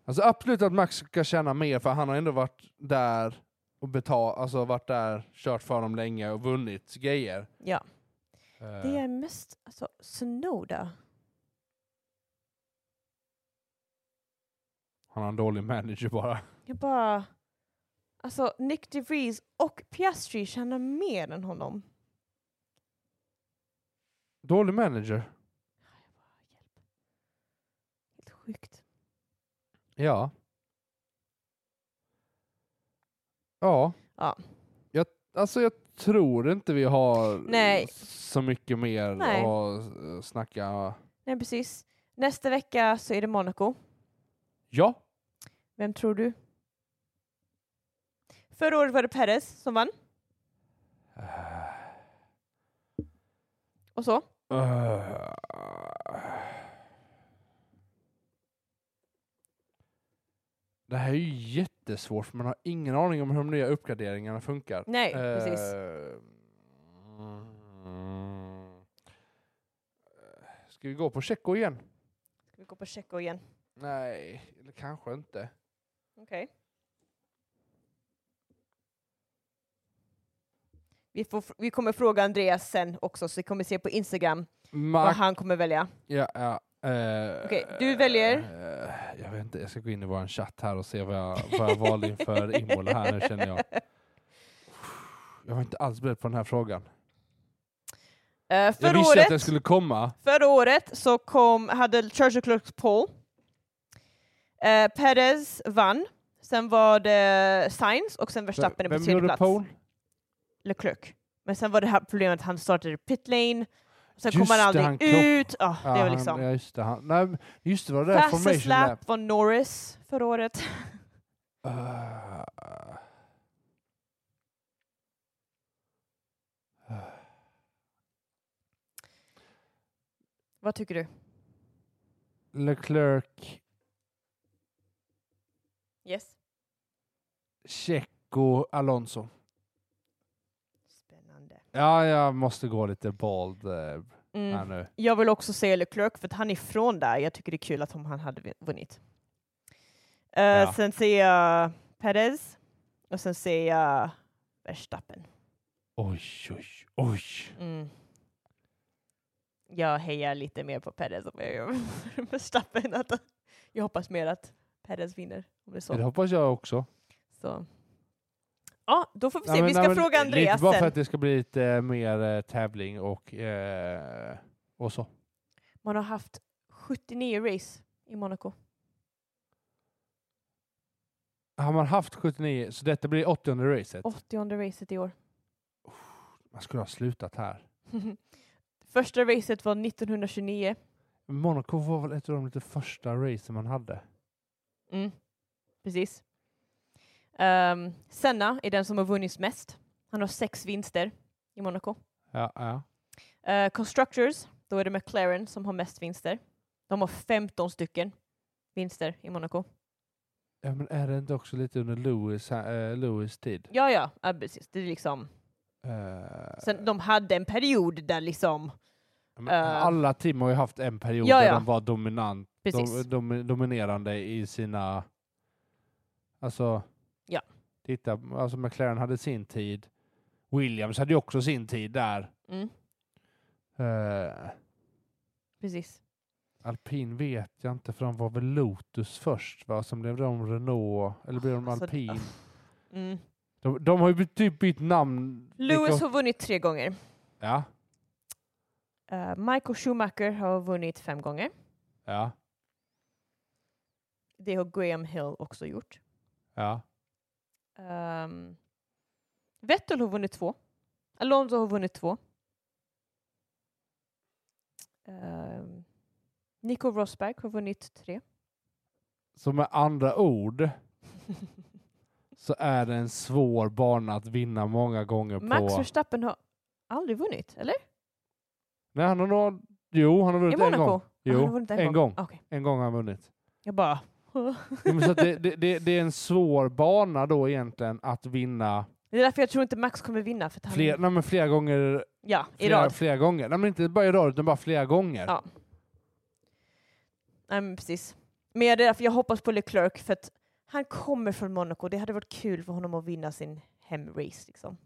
Speaker 2: Alltså absolut att Max ska tjäna mer för han har ändå varit där och betalt, alltså varit där, kört för dem länge och vunnit grejer.
Speaker 1: Ja.
Speaker 2: Eh,
Speaker 1: Det är mest... Alltså, Snowda.
Speaker 2: Han har en dålig manager bara.
Speaker 1: Jag bara... Alltså, Nick DeVries och Piastri tjänar mer än honom.
Speaker 2: Dålig manager?
Speaker 1: Helt sjukt.
Speaker 2: Ja. Ja.
Speaker 1: Ja.
Speaker 2: Jag, alltså jag tror inte vi har
Speaker 1: Nej.
Speaker 2: så mycket mer
Speaker 1: Nej.
Speaker 2: att eh, snacka.
Speaker 1: Nej, precis. Nästa vecka så är det Monaco.
Speaker 2: Ja,
Speaker 1: Vem tror du? Förra året var det Perez som vann. Och så.
Speaker 2: Eh. Det här är ju jättesvårt för man har ingen aning om hur de nya uppgraderingarna funkar.
Speaker 1: Nej, precis.
Speaker 2: Eh, mm. Ska vi gå på Tjecko igen?
Speaker 1: Ska vi gå på Tjecko igen?
Speaker 2: Nej, eller kanske inte.
Speaker 1: Okej. Vi, får, vi kommer fråga Andreas sen också, så vi kommer se på Instagram vad
Speaker 2: Mark,
Speaker 1: han kommer välja.
Speaker 2: ja, ja, eh,
Speaker 1: Okej, du väljer.
Speaker 2: eh, jag vet inte, jag ska gå in i vår chatt här och se vad jag, vad jag valde inför Imola här nu känner jag. Jag var inte alls beredd på den här frågan.
Speaker 1: Eh,
Speaker 2: Jag
Speaker 1: förra,
Speaker 2: visste att
Speaker 1: året,
Speaker 2: den skulle komma.
Speaker 1: förra året så kom, hade Churchill Clerks Poll. Eh, Perez vann. Sen var det Sainz och sen Verstappen på
Speaker 2: Vem
Speaker 1: tredje
Speaker 2: gjorde
Speaker 1: plats.
Speaker 2: pole?
Speaker 1: Leclerc. Men sen var det här problemet att han startade i pitlane, sen kom
Speaker 2: Just
Speaker 1: han
Speaker 2: det,
Speaker 1: aldrig
Speaker 2: han krock-
Speaker 1: ut. Ah,
Speaker 2: Ja,
Speaker 1: det var
Speaker 2: han-
Speaker 1: liksom...
Speaker 2: ja, just det. Han, nej, men just det, var det där
Speaker 1: Fastest
Speaker 2: formation
Speaker 1: lap
Speaker 2: lap.
Speaker 1: var Norris förra året.
Speaker 2: Ah.
Speaker 1: Vad tycker du?
Speaker 2: Leclerc,
Speaker 1: Yes.
Speaker 2: Checo, Alonso.
Speaker 1: Spännande.
Speaker 2: Ja, jag måste gå lite bald eh,
Speaker 1: Mm.
Speaker 2: här nu.
Speaker 1: Jag vill också se Leclerc för att han är från där. Jag tycker det är kul att om han hade vin- vunnit. Eh,
Speaker 2: Ja.
Speaker 1: Sen ser jag Perez och sen ser jag Verstappen.
Speaker 2: Oj, oj, oj.
Speaker 1: Mm. Jag hejar lite mer på Perez än vad jag gör (laughs) på Verstappen. Att- Jag hoppas mer att Perez vinner. Om det är så.
Speaker 2: Det hoppas jag också.
Speaker 1: Så. Ja, då får vi se.
Speaker 2: Nej, men-
Speaker 1: vi ska
Speaker 2: nej, men
Speaker 1: fråga Andreas
Speaker 2: Lite bara för
Speaker 1: sen.
Speaker 2: att det ska bli lite mer eh, tävling och, eh, och så.
Speaker 1: Man har haft 79 race i Monaco.
Speaker 2: Har man haft 79, så detta blir 80 racet.
Speaker 1: 80 racet i år.
Speaker 2: Man skulle ha slutat här.
Speaker 1: (laughs) Första racet var 1929.
Speaker 2: Monaco var väl ett av de lite första racen man hade?
Speaker 1: Mm. Precis. Ehm, Senna är den som har vunnit mest. Han har sex vinster i Monaco.
Speaker 2: Ja, ja.
Speaker 1: Eh, Constructors, då är det McLaren som har mest vinster. De har 15 stycken vinster i Monaco.
Speaker 2: ja men är det inte också lite under Lewis, eh, Lewis tid?
Speaker 1: Ja, ja, ja precis. Det är liksom.
Speaker 2: Eh,
Speaker 1: Sen, de hade en period där liksom,
Speaker 2: men
Speaker 1: eh,
Speaker 2: alla team har ju haft en period
Speaker 1: Ja,
Speaker 2: där
Speaker 1: ja.
Speaker 2: de var dominant,
Speaker 1: precis.
Speaker 2: dom, dom, dominerande i sina... Alltså...
Speaker 1: Ja.
Speaker 2: Titta, alltså McLaren hade sin tid. Williams hade ju också sin tid där.
Speaker 1: Mm,
Speaker 2: Eh,
Speaker 1: precis.
Speaker 2: Alpin vet jag inte, för de var väl Lotus först, va? Sen blev de Renault, eller blev de
Speaker 1: Alltså,
Speaker 2: Alpin?
Speaker 1: Mm.
Speaker 2: De, de har ju typ bytt namn.
Speaker 1: Lewis
Speaker 2: Vilka-
Speaker 1: har vunnit tre gånger.
Speaker 2: Ja,
Speaker 1: Eh, Michael Schumacher har vunnit fem gånger.
Speaker 2: ja,
Speaker 1: Det har Graham Hill också gjort.
Speaker 2: ja.
Speaker 1: Ehm, Vettel har vunnit två. Alonso har vunnit två. Ehm, Nico Rosberg har vunnit tre.
Speaker 2: Så med andra ord så är det en svår bana att vinna många gånger
Speaker 1: Max
Speaker 2: på.
Speaker 1: Verstappen har aldrig vunnit, eller?
Speaker 2: Nej, han har nog... Jo, han har
Speaker 1: I
Speaker 2: vunnit en
Speaker 1: Monaco?
Speaker 2: gång.
Speaker 1: Ja, han har
Speaker 2: Jo,
Speaker 1: vunnit en
Speaker 2: en
Speaker 1: gång.
Speaker 2: gång.
Speaker 1: Ah, Okej,
Speaker 2: En gång har han vunnit.
Speaker 1: jag bara...
Speaker 2: Jo, men så att det, det, det, det är en svår bana då egentligen att vinna
Speaker 1: Det är därför jag tror inte Max kommer vinna. För att han...
Speaker 2: fler, nej, men flera gånger
Speaker 1: Ja, i
Speaker 2: flera,
Speaker 1: rad.
Speaker 2: flera gånger. Nej, men inte bara i rad, utan bara flera gånger.
Speaker 1: Ja. Nej, men precis. Men jag, det är därför jag hoppas på Leclerc för att han kommer från Monaco. Det hade varit kul för honom att vinna sin hemrace. Liksom.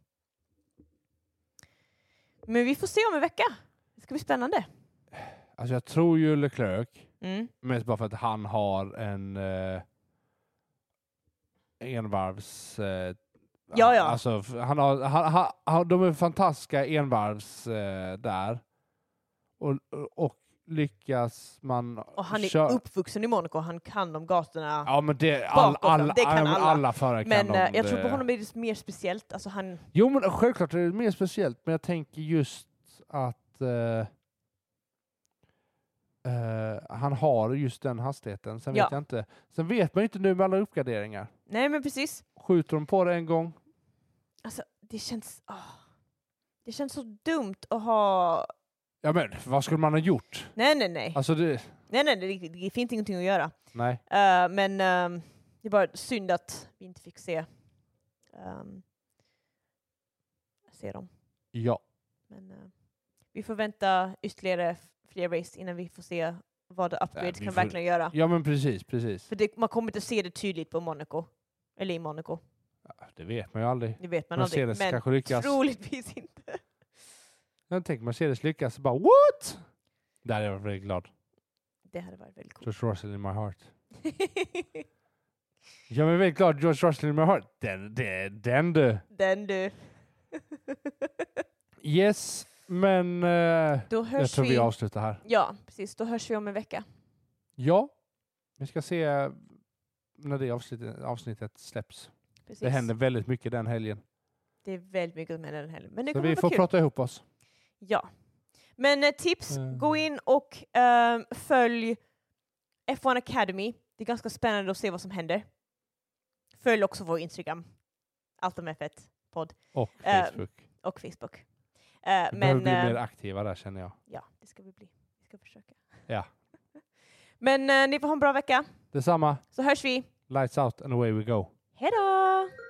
Speaker 1: Men vi får se om en vecka. Det ska bli spännande.
Speaker 2: Alltså jag tror ju Leclerc,
Speaker 1: Mm.
Speaker 2: mest bara för att han har en eh, envarvs... Eh,
Speaker 1: Ja, ja.
Speaker 2: Alltså, f- han har, han, han, han, de är fantastiska envarvs eh, där. Och, och lyckas man...
Speaker 1: Och han är
Speaker 2: köra-
Speaker 1: uppvuxen i Monaco. Han kan om gatorna.
Speaker 2: Ja men det, all,
Speaker 1: Bakom dem,
Speaker 2: all,
Speaker 1: det kan
Speaker 2: alla,
Speaker 1: alla.
Speaker 2: alla förare kan
Speaker 1: men
Speaker 2: de,
Speaker 1: eh, jag tror på
Speaker 2: det.
Speaker 1: honom är det mer speciellt. Alltså, han,
Speaker 2: Jo men självklart är det mer speciellt, men jag tänker just att eh, eh, han har just den hastigheten. Sen
Speaker 1: Ja.
Speaker 2: vet jag inte. Sen vet man ju inte nu med alla uppgraderingar.
Speaker 1: nej, men precis.
Speaker 2: Skjuter de på det en gång?
Speaker 1: Alltså, det känns... ah. Det känns så dumt att ha...
Speaker 2: Ja men vad skulle man ha gjort?
Speaker 1: Nej, nej, nej.
Speaker 2: Alltså det,
Speaker 1: Nej, nej, det, det finns ingenting att göra.
Speaker 2: nej.
Speaker 1: Eh, men ehm, det var synd att vi inte fick se, ehm, se dem.
Speaker 2: Ja.
Speaker 1: Men eh, vi får vänta ytterligare f- fler race innan vi får se vad The Upgrade
Speaker 2: vi
Speaker 1: kan
Speaker 2: får-
Speaker 1: verkligen göra.
Speaker 2: Ja men precis, precis.
Speaker 1: För det, man kommer inte se det tydligt på Monaco. Eller i Monaco,
Speaker 2: Ja, Det vet man ju aldrig.
Speaker 1: det vet man aldrig.
Speaker 2: Mercedes
Speaker 1: Men
Speaker 2: kanske lyckas.
Speaker 1: troligtvis inte.
Speaker 2: Jag tänker Mercedes lyckas så bara what? Där hade jag varit väldigt glad.
Speaker 1: Det hade varit väldigt coolt. (laughs)
Speaker 2: George Russell in my heart. Jag är väldigt glad George Russell in my heart. Den, den, den du.
Speaker 1: Den du.
Speaker 2: Yes. Men eh,
Speaker 1: Då
Speaker 2: jag
Speaker 1: hörs
Speaker 2: tror vi
Speaker 1: vi.
Speaker 2: avslutar här.
Speaker 1: Ja, precis. Då hörs vi om en vecka.
Speaker 2: Ja, vi ska se när det avsnittet, avsnittet släpps.
Speaker 1: Precis.
Speaker 2: Det händer väldigt mycket den helgen.
Speaker 1: Det är väldigt mycket som händer den helgen. Men det
Speaker 2: Så
Speaker 1: kommer
Speaker 2: vi
Speaker 1: att
Speaker 2: får
Speaker 1: vara kul.
Speaker 2: prata ihop oss.
Speaker 1: Ja. Men eh, tips,
Speaker 2: Mm.
Speaker 1: gå in och ehm, följ F1 Academy. Det är ganska spännande att se vad som händer. Följ också vår Instagram, Allt om F1
Speaker 2: Och
Speaker 1: Eh,
Speaker 2: Facebook.
Speaker 1: och Facebook. Eh,
Speaker 2: vi behöver
Speaker 1: men
Speaker 2: bli
Speaker 1: eh,
Speaker 2: mer aktiva där känner jag.
Speaker 1: ja, det ska vi bli. Vi ska försöka.
Speaker 2: Ja.
Speaker 1: (laughs) men eh, ni får ha en bra vecka,
Speaker 2: Detsamma.
Speaker 1: så hörs vi.
Speaker 2: Lights out and away we go.
Speaker 1: Hej då!